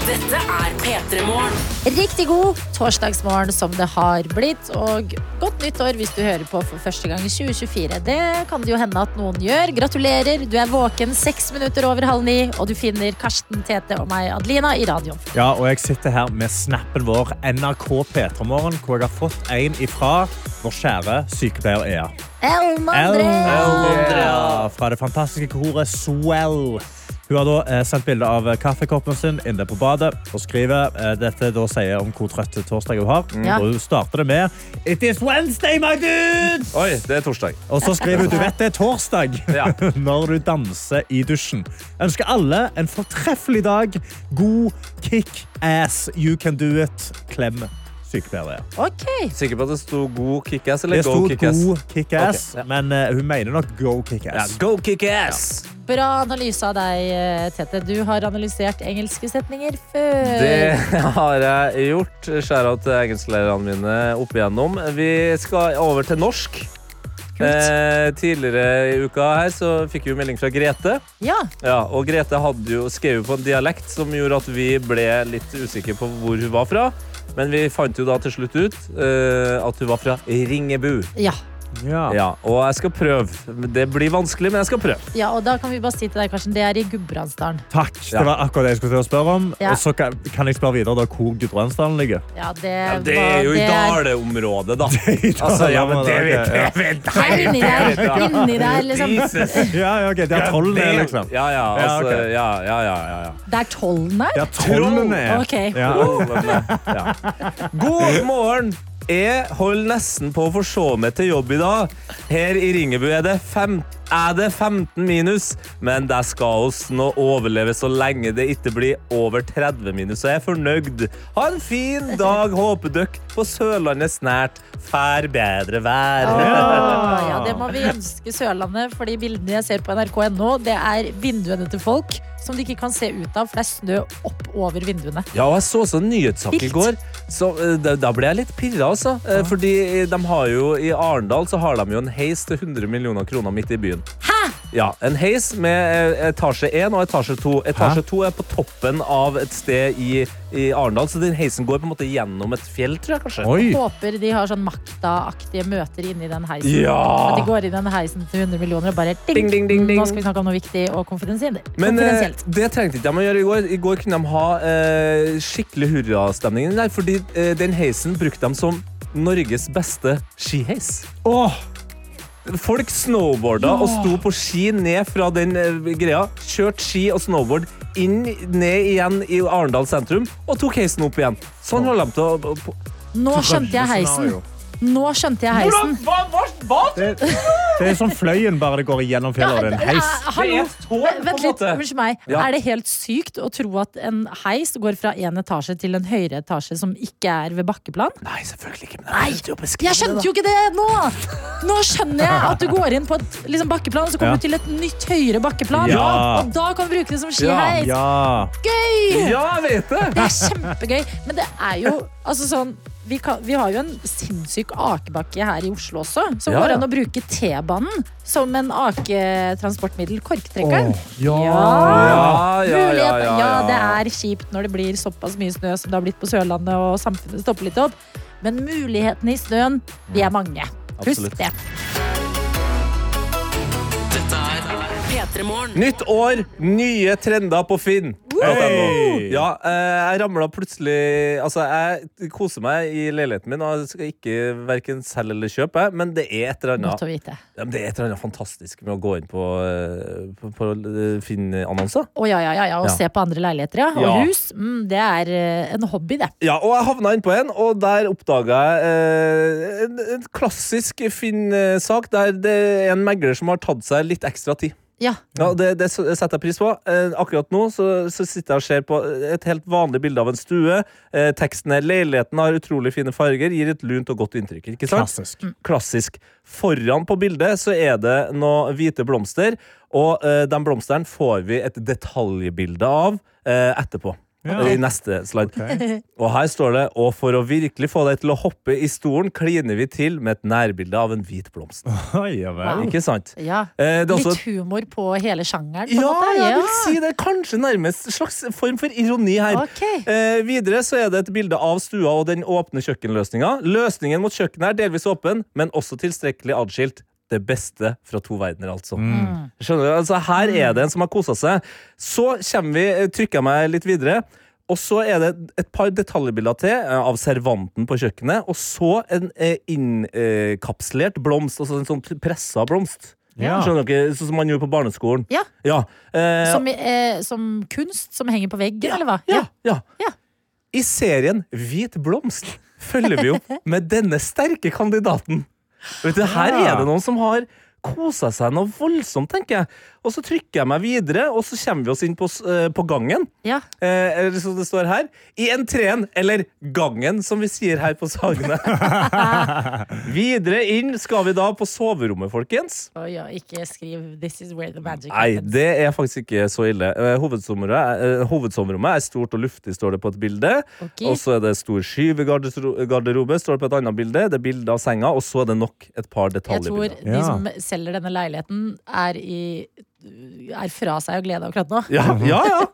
B: Dette er P3 Morgen.
C: Riktig god torsdagsmorgen som det har blitt, og godt nytt år hvis du hører på for første gang i 2024. Det kan det jo hende at noen gjør. Gratulerer, du er våken seks minutter over halv ni, og du finner Karsten, Tete og meg, Adelina, i radioen.
E: Ja, og jeg sitter her med snappen vår NRK P3morgen, hvor jeg har fått en ifra vår kjære sykepleier Ea.
C: Elma
E: Elma
C: Andrea!
E: Andrea Fra det fantastiske koret Swell. Hun har da eh, sendt bilde av kaffekoppen sin inne på badet og skriver eh, dette da sier om hvor trøtt torsdag hun har.
C: Ja.
E: Og hun starter det med It is Wednesday, my dudes!
D: Oi, det er torsdag.
E: Og så skriver hun du vet det er torsdag
D: Ja.
E: når du danser i dusjen. Ønsker alle en fortreffelig dag. God kick-ass. You can do it. Klem sykepleier.
C: Ok,
D: Sikker på at det sto god kickass eller
E: Det sto
D: go kickass?
E: god kick-ass,
D: Ok, ja.
E: men eh, hun mener nok go
D: Ja,
E: kick-ass.
D: go kickass!
C: bra analyse av deg, eh, Tete. Du har analysert engelske setninger før.
D: Det har jeg gjort. Skjæra til engelsklærerne mine opp igjennom. Vi skal over til norsk. Eh, tidligere i uka her så fikk vi jo melding fra Grete.
C: Ja,
D: Ja, og Grete hadde jo, skrev jo på en dialekt som gjorde at vi ble litt usikre på hvor hun var fra. Men vi fant jo da til slutt ut eh, at hun var fra Ringebu.
C: ja.
E: Ja.
D: Ja, og jeg skal prøve. Det blir vanskelig, men jeg skal prøve.
C: ja, og da kan vi bare si til deg, Karsten, det er i Gudbrandsdalen.
E: Takk. Det var akkurat det jeg skulle til å spørre om.
C: Ja.
E: Og så kan, kan jeg spørre videre da, hvor Gudbrandsdalen ligger.
C: Ja, det,
D: Ja, det er jo
C: var-
D: i
C: det er-
D: Dale-området, da. Altså, ja, men det vet jeg. vet jeg.
C: Inni der, inni der, liksom.
D: Jesus.
E: Ja, ja, ok. Der trollen er, liksom.
D: Ja, ja,
E: Ja,
D: altså,
E: ok.
D: ja, ja, ja, ja, ja.
C: Der trollen er?
E: Der trollen er.
C: Ok.
E: Ja.
D: ja. God morgen! Jeg holder nesten på å få se meg til jobb i dag. Her i Ringebu er det, fem, er det 15 minus, men det skal oss nå overleve så lenge det ikke blir over 30 minus. Så jeg er fornøyd. Ha en fin dag, håper døkk på Sørlandet snært. Fær bedre vær.
C: Åh, ja, det må vi ønske Sørlandet, for de bildene jeg ser på nrk.no, det er vinduene til folk som de ikke kan se ut av, for det er snø opp over vinduene.
D: Ja, og jeg så også en nyhetssak i
C: Vilt.
D: går. Så eh, da, da ble jeg litt pirra, altså. Eh, Fordi eh, de har jo, i Arendal så har de jo en heis til 100 millioner kroner midt i byen. Ja, en heis med eh, etasje 1 og etasje 2. Etasje 2 er på toppen av et sted i, i Arendal, så den heisen går på en måte gjennom et fjell, tror jeg kanskje.
E: Oi.
C: Håper de har sånn maktaaktige møter inni den heisen.
D: Ja!
C: At de går inn i den heisen til 100 millioner og bare ding,
D: Ding, ding, ding, ding.
C: Nå skal vi snakke om noe viktig og konfidensielt.
D: Men eh,
C: konfidensielt.
D: det trengte ikke de å gjøre i går. I går kunne de ha eh, skikkelig hurrastemning der, fordi eh, den heisen brukte de som Norges beste skiheis.
E: Åh,
D: Folk snowboarda og sto på ski ned fra den eh, greia. Kjørte ski og snowboard inn, ned igjen i Arendal sentrum og tok heisen opp igjen. Sånn holdt de til å- å på-
C: Nå skjønte jeg heisen. Nå skjønte jeg heisen.
E: det, det er sånn fløyen bare det går gjennom fjellet, og det er en heis.
C: Ja, Eh, hallo.
D: Det er et tog, på en
C: Vent litt,
D: måte.
C: unnskyld meg.
D: Ja.
C: Er det helt sykt å tro at en heis går fra en etasje til en høyere etasje som ikke er ved bakkeplan?
D: Nei, selvfølgelig ikke. Men
C: Nei, jeg skjønte jo ikke det nå! Nå skjønner jeg at du går inn på et liksom, bakkeplan, og så
E: Ja.
C: kommer du til et nytt høyere bakkeplan.
E: Ja.
C: Og da kan du bruke det som skiheis.
E: Ja.
C: Gøy!
D: Ja, jeg vet det!
C: Det er kjempegøy. Men det er jo altså sånn vi, kan, vi har jo en sinnssyk akebakke her i Oslo også, som
D: Ja,
C: går
D: ja.
C: an å bruke T-banen som en aketransportmiddel. Korktrekkeren.
E: Åh,
D: Ja, ja, ja,
C: Mulighet.
D: ja,
C: ja,
D: ja.
C: det er kjipt når det blir såpass mye snø som det har blitt på Sørlandet, og samfunnet stopper litt opp. Men mulighetene i snøen, de er mange. Husk
D: Mm. Absolutt.
C: det.
B: P3morgen.
D: Nytt år, nye trender på Finn.
E: Hey!
D: Ja, eh, jeg ramla plutselig Altså, jeg koser meg i leiligheten min, og jeg skal ikke verken selge eller kjøpe, jeg, men det er et eller
C: Godt å
D: annet
C: vite.
D: ja, men Det er et eller annet fantastisk med å gå inn på, eh, på, på eh, Finn-annonser.
C: Å ja, ja, ja, ja. Og
D: Ja.
C: se på andre leiligheter, ja. Og
D: Ja.
C: hus. Mm, det er eh, en hobby, det.
D: Ja, og jeg havna innpå en, og der oppdaga jeg eh, en, en klassisk Finn-sak der det er en megler som har tatt seg litt ekstra tid.
C: Ja.
D: Ja, det, det setter jeg pris på. Eh, akkurat nå så, så sitter jeg og ser på et helt vanlig bilde av en stue. Eh, teksten er 'Leiligheten har utrolig fine farger', gir et lunt og godt inntrykk. ikke sant?
E: Klassisk.
D: Klassisk. Foran på bildet så er det noen hvite blomster, og eh, den blomsteren får vi et detaljbilde av eh, etterpå.
E: Ja.
D: I neste slide. Og her står det 'Og for å virkelig få deg til å hoppe i stolen, kliner vi til med et nærbilde av en hvit blomst'.
E: Oi, ja vel.
D: Ikke sant?
C: ja.
D: Eh, det er også
C: Litt humor på hele sjangeren, på en
D: Ja,
C: måte.
D: jeg vil si det. Kanskje nærmest en slags form for ironi her.
C: Ok.
D: Eh, videre så er det et bilde av stua og den åpne kjøkkenløsninga. Løsningen mot kjøkkenet er delvis åpen, men også tilstrekkelig adskilt. Det beste fra to verdener, altså.
C: Mm.
D: Skjønner du? Altså, Her er det en som har kosa seg. Så kommer vi, eh, trykker jeg meg litt videre. Og så er det et par detaljbilder til eh, av servanten på kjøkkenet. Og så en eh, innkapslert blomst, altså en sånn pressa blomst.
E: Ja.
D: Skjønner dere? Sånn som man gjorde på barneskolen.
C: Ja.
D: Ja. Eh,
C: Som, eh, som kunst som henger på veggen, eller hva?
D: ja, ja.
C: Ja.
D: I serien Hvit blomst følger vi opp med denne sterke kandidaten. Vet du, Her
E: Ja.
C: Ah.
D: er det noen som har kosa seg noe voldsomt, tenker jeg. Og så trykker jeg meg videre, og så kommer vi oss inn på, s- eh, på gangen.
C: Ja.
D: Eh, eller som det står her. I entreen, eller gangen, som vi sier her på Sagene. videre inn skal vi da på soverommet, folkens.
C: Oi, ja, ikke skriv 'This is where the magic
D: Nei,
C: happens'.
D: det er faktisk ikke så ille. Eh, Hovedsoverommet er, eh, hovedsoverommet er stort og luftig, står det på et bilde.
C: Ok.
D: Og så er det stor skyv i gardesro- garderobe, står det på et annet bilde. Det er bilde av senga, og så er det nok et par
C: Jeg tror
D: detaljbilder.
C: de som selger denne leiligheten, er, i, er fra seg av glede akkurat nå.
D: Ja, ja, ja.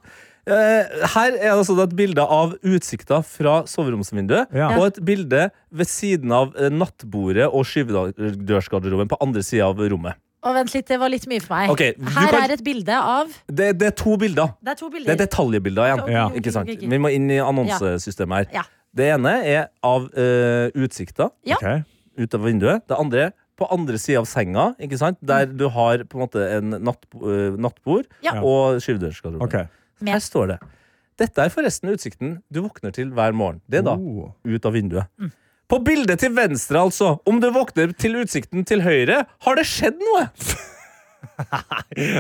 D: Eh, Her er det altså et bilde av utsikta fra soveromsvinduet,
E: Ja.
D: og et bilde ved siden av eh, nattbordet og skyvedørsgarderoben på andre sida av rommet.
C: Og vent litt, det var litt mye for meg.
D: Ok, du
C: Her
D: kan-
C: er et bilde av
D: Det, det er to bilder.
C: Det er to bilder.
D: Det er detaljbilder igjen.
E: Ja.
D: Ikke sant?
C: Ok, ok, ok.
D: Vi må inn i annonsesystemet her.
C: Ja.
D: Det ene er av eh, utsikta
C: Ja.
E: Ok.
D: ut av vinduet. Det andre er på andre sida av senga, ikke sant? der du har på en måte en natt, eh, nattbord
C: Ja.
D: og skyvedørsgarderobe.
E: Ok.
D: Her står det. Dette er forresten utsikten du våkner til hver morgen. Det er da
E: Oh.
D: ut av vinduet. På bildet til venstre, altså. Om du våkner til utsikten til høyre, har det skjedd noe?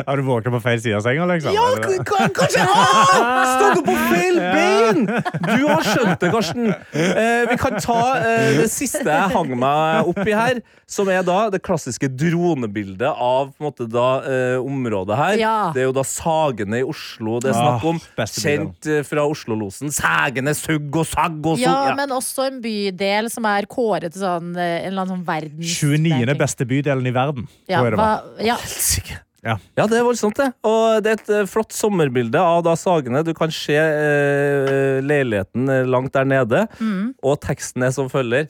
E: Har du våknet på feil side av senga, liksom?
D: Ja,
E: Eller-
D: k- k- kanskje ah! Stod du på feil bein! Du har skjønt det, Karsten. Eh, vi kan ta eh, det siste jeg hang meg opp i her, som er da det klassiske dronebildet av på en måte, da, eh, området her.
C: Ja.
D: Det er jo da Sagene i Oslo det er snakk om.
E: Ah, beste bildet.
D: Kjent eh, fra Oslo-losen. Sagene, sugg og sagg og
C: Ja,
D: sugg.
C: men også en bydel som er kåret til sånn, eh, en eller annen sånn verdens
E: 29. beste bydelen i verden.
C: ja,
E: tror jeg det var.
C: hva, ja,
D: Helsike.
E: Ja.
D: Ja, det er voldsomt, det. Og det er et eh, flott sommerbilde av da Sagene. Du kan se eh, leiligheten eh, langt der nede,
C: Mm.
D: og teksten er som følger.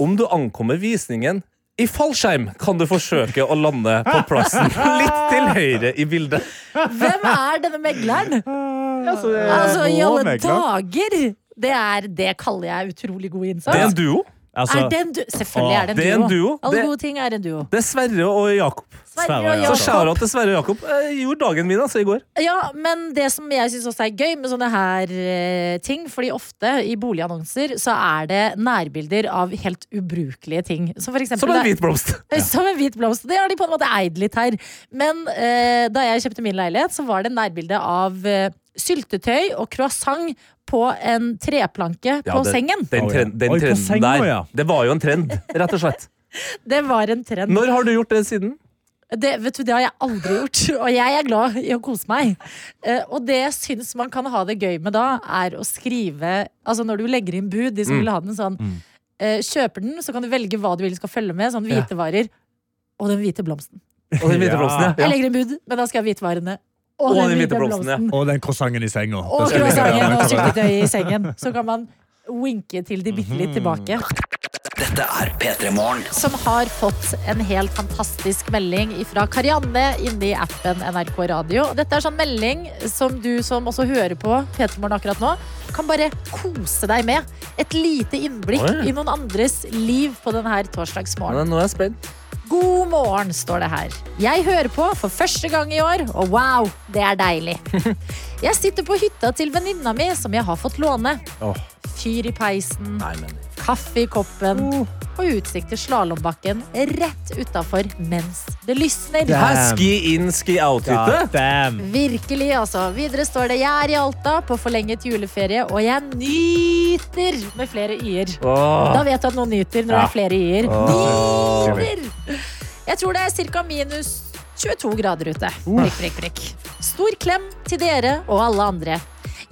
D: Om du ankommer visningen i fallskjerm, kan du forsøke å lande på plassen litt til høyre i bildet.
C: Hvem er denne megleren?
D: Eh,
C: Altså, i
E: Å,
C: alle
E: megler.
C: dager! Det, er, det kaller jeg utrolig god
D: Det er en
C: innsats.
D: duo.
E: Altså,
C: er det en du Selvfølgelig
E: Å,
C: er det en duo.
D: det er en duo.
C: Alle
D: Det-
C: gode ting er en duo.
D: Det er Sverre og Jakob.
C: Sverre
E: Sverre,
C: og
E: ja.
D: Så
C: Jakob.
D: skjæra til Sverre og Jakob. Eh, gjorde dagen min altså i går.
C: Ja, men det som jeg syns også er gøy med sånne her eh, ting, fordi ofte i boligannonser så er det nærbilder av helt ubrukelige ting. Som for eksempel
D: Som en
C: det-
D: hvit blomst.
C: Som en hvit blomst. Det har de på en måte eid litt her. Men eh, da jeg kjøpte min leilighet, så var det nærbilde av eh, syltetøy og croissant på en treplanke
D: Ja,
C: på
D: det-
C: sengen.
D: Den,
E: Å, ja.
D: trend, den
E: Oi, på
D: trenden
E: senga,
D: der.
E: ja.
D: Det var jo en trend, rett og slett.
C: Det var en trend.
D: Når har du gjort det siden?
C: Det, vet du, det har jeg aldri gjort, og jeg er glad i å kose meg. Eh, og det jeg syns man kan ha det gøy med da, er å skrive Altså når du legger inn bud, de som vil ha den sånn eh, Kjøper den, så kan du velge hva du vil skal følge med, sånn hvite varer og den hvite blomsten.
D: Og den hvite
E: Ja.
D: blomsten, ja.
C: Jeg legger inn bud, men da skal jeg ha hvitvarene og, den hvite blomsten.
D: ja.
E: Og den croissanten i senga. Den
C: Og
E: skal ligge der.
C: croissanten og syltetøyet i sengen. Så kan man winke til de bitte litt tilbake.
A: Dette er P3 Morgen.
C: Som har fått en helt fantastisk melding fra Karianne inne i appen NRK Radio. Dette er sånn melding som du som også hører på P3morgen akkurat nå, kan bare kose deg med. Et lite innblikk
D: Oi.
C: i noen andres liv på denne torsdagsmorgenen.
D: Nå er jeg spent.
C: God morgen, står det her. Jeg hører på for første gang i år, og wow, det er deilig. Jeg sitter på hytta til venninna mi, som jeg har fått låne.
D: Åh.
C: Fyr i peisen,
D: Nei, men
C: kaffe i koppen og utsikt til slalåmbakken rett utafor mens det lysner.
D: Hæ, Ski in, ski out-hytte?
E: God damn.
C: Virkelig, altså. Videre står det 'Jeg er i Alta på forlenget juleferie, og jeg nyter' med flere y-er. Da vet du at noen nyter når det er flere y-er. Nyter! Jeg tror det er ca. minus 22 grader ute. Prikk, prikk, prikk. Stor klem til dere og alle andre.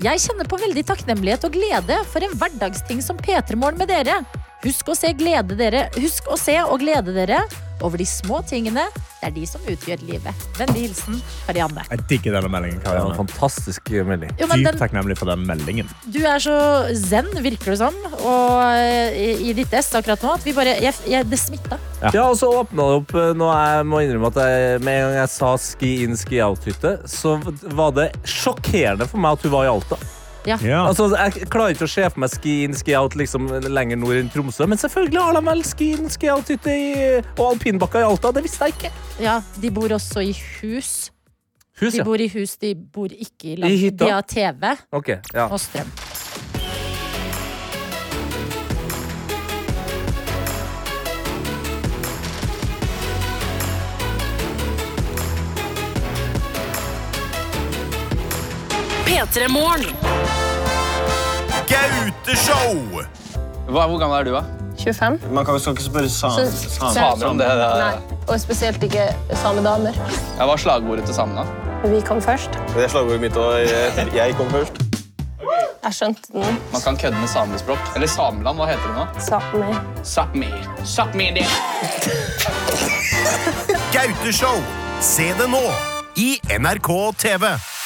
C: Jeg kjenner på veldig takknemlighet og glede for en hverdagsting som P3morgen med dere. Husk å, se glede dere. Husk å se og glede dere over de små tingene. Det er de som utgjør livet. Vennlig hilsen Karianne.
E: Jeg digger denne meldingen.
D: Det var en
E: Karianne.
D: fantastisk melding.
C: Jo, men
E: Dypt
C: den,
E: takknemlig for den meldingen.
C: du er så zen, virker det som, og eh, i, i ditt ess akkurat nå, at vi bare jeg, jeg, Det smitta.
D: Ja, og så åpna det opp eh, Nå jeg må innrømme at jeg, med en gang jeg sa ski in, ski out-hytte, så var det sjokkerende for meg at hun var i Alta.
E: Ja.
D: Altså, Jeg klarer ikke å se for meg ski in, ski out liksom lenger nord enn Tromsø, men selvfølgelig har de vel ski in, ski out-hytte i- og alpinbakker i Alta. Det visste jeg ikke.
C: Ja, de bor også i hus.
D: Hus,
C: De
D: ja.
C: bor i hus, de bor ikke i land.
D: I hytta?
C: De har TV
D: Ok, ja.
C: og strøm.
B: P3 Morgen.
J: Gauteshow!
H: hvor gammel er du, da?
K: 25.
J: Man kan, skal ikke spørre
K: Så-
H: Samer om det.
K: Nei. Og spesielt ikke samedamer.
H: Jeg var slagordet til samene.
K: Vi kom først.
J: Det er slagordet mitt, og jeg, kom først.
K: Jeg skjønte den.
H: Man kan kødde med samespråk. Eller Sameland, hva heter det nå?
K: Sápmi.
H: Sápmi. Sápmi det.
J: Gauteshow! Se det nå i NRK TV.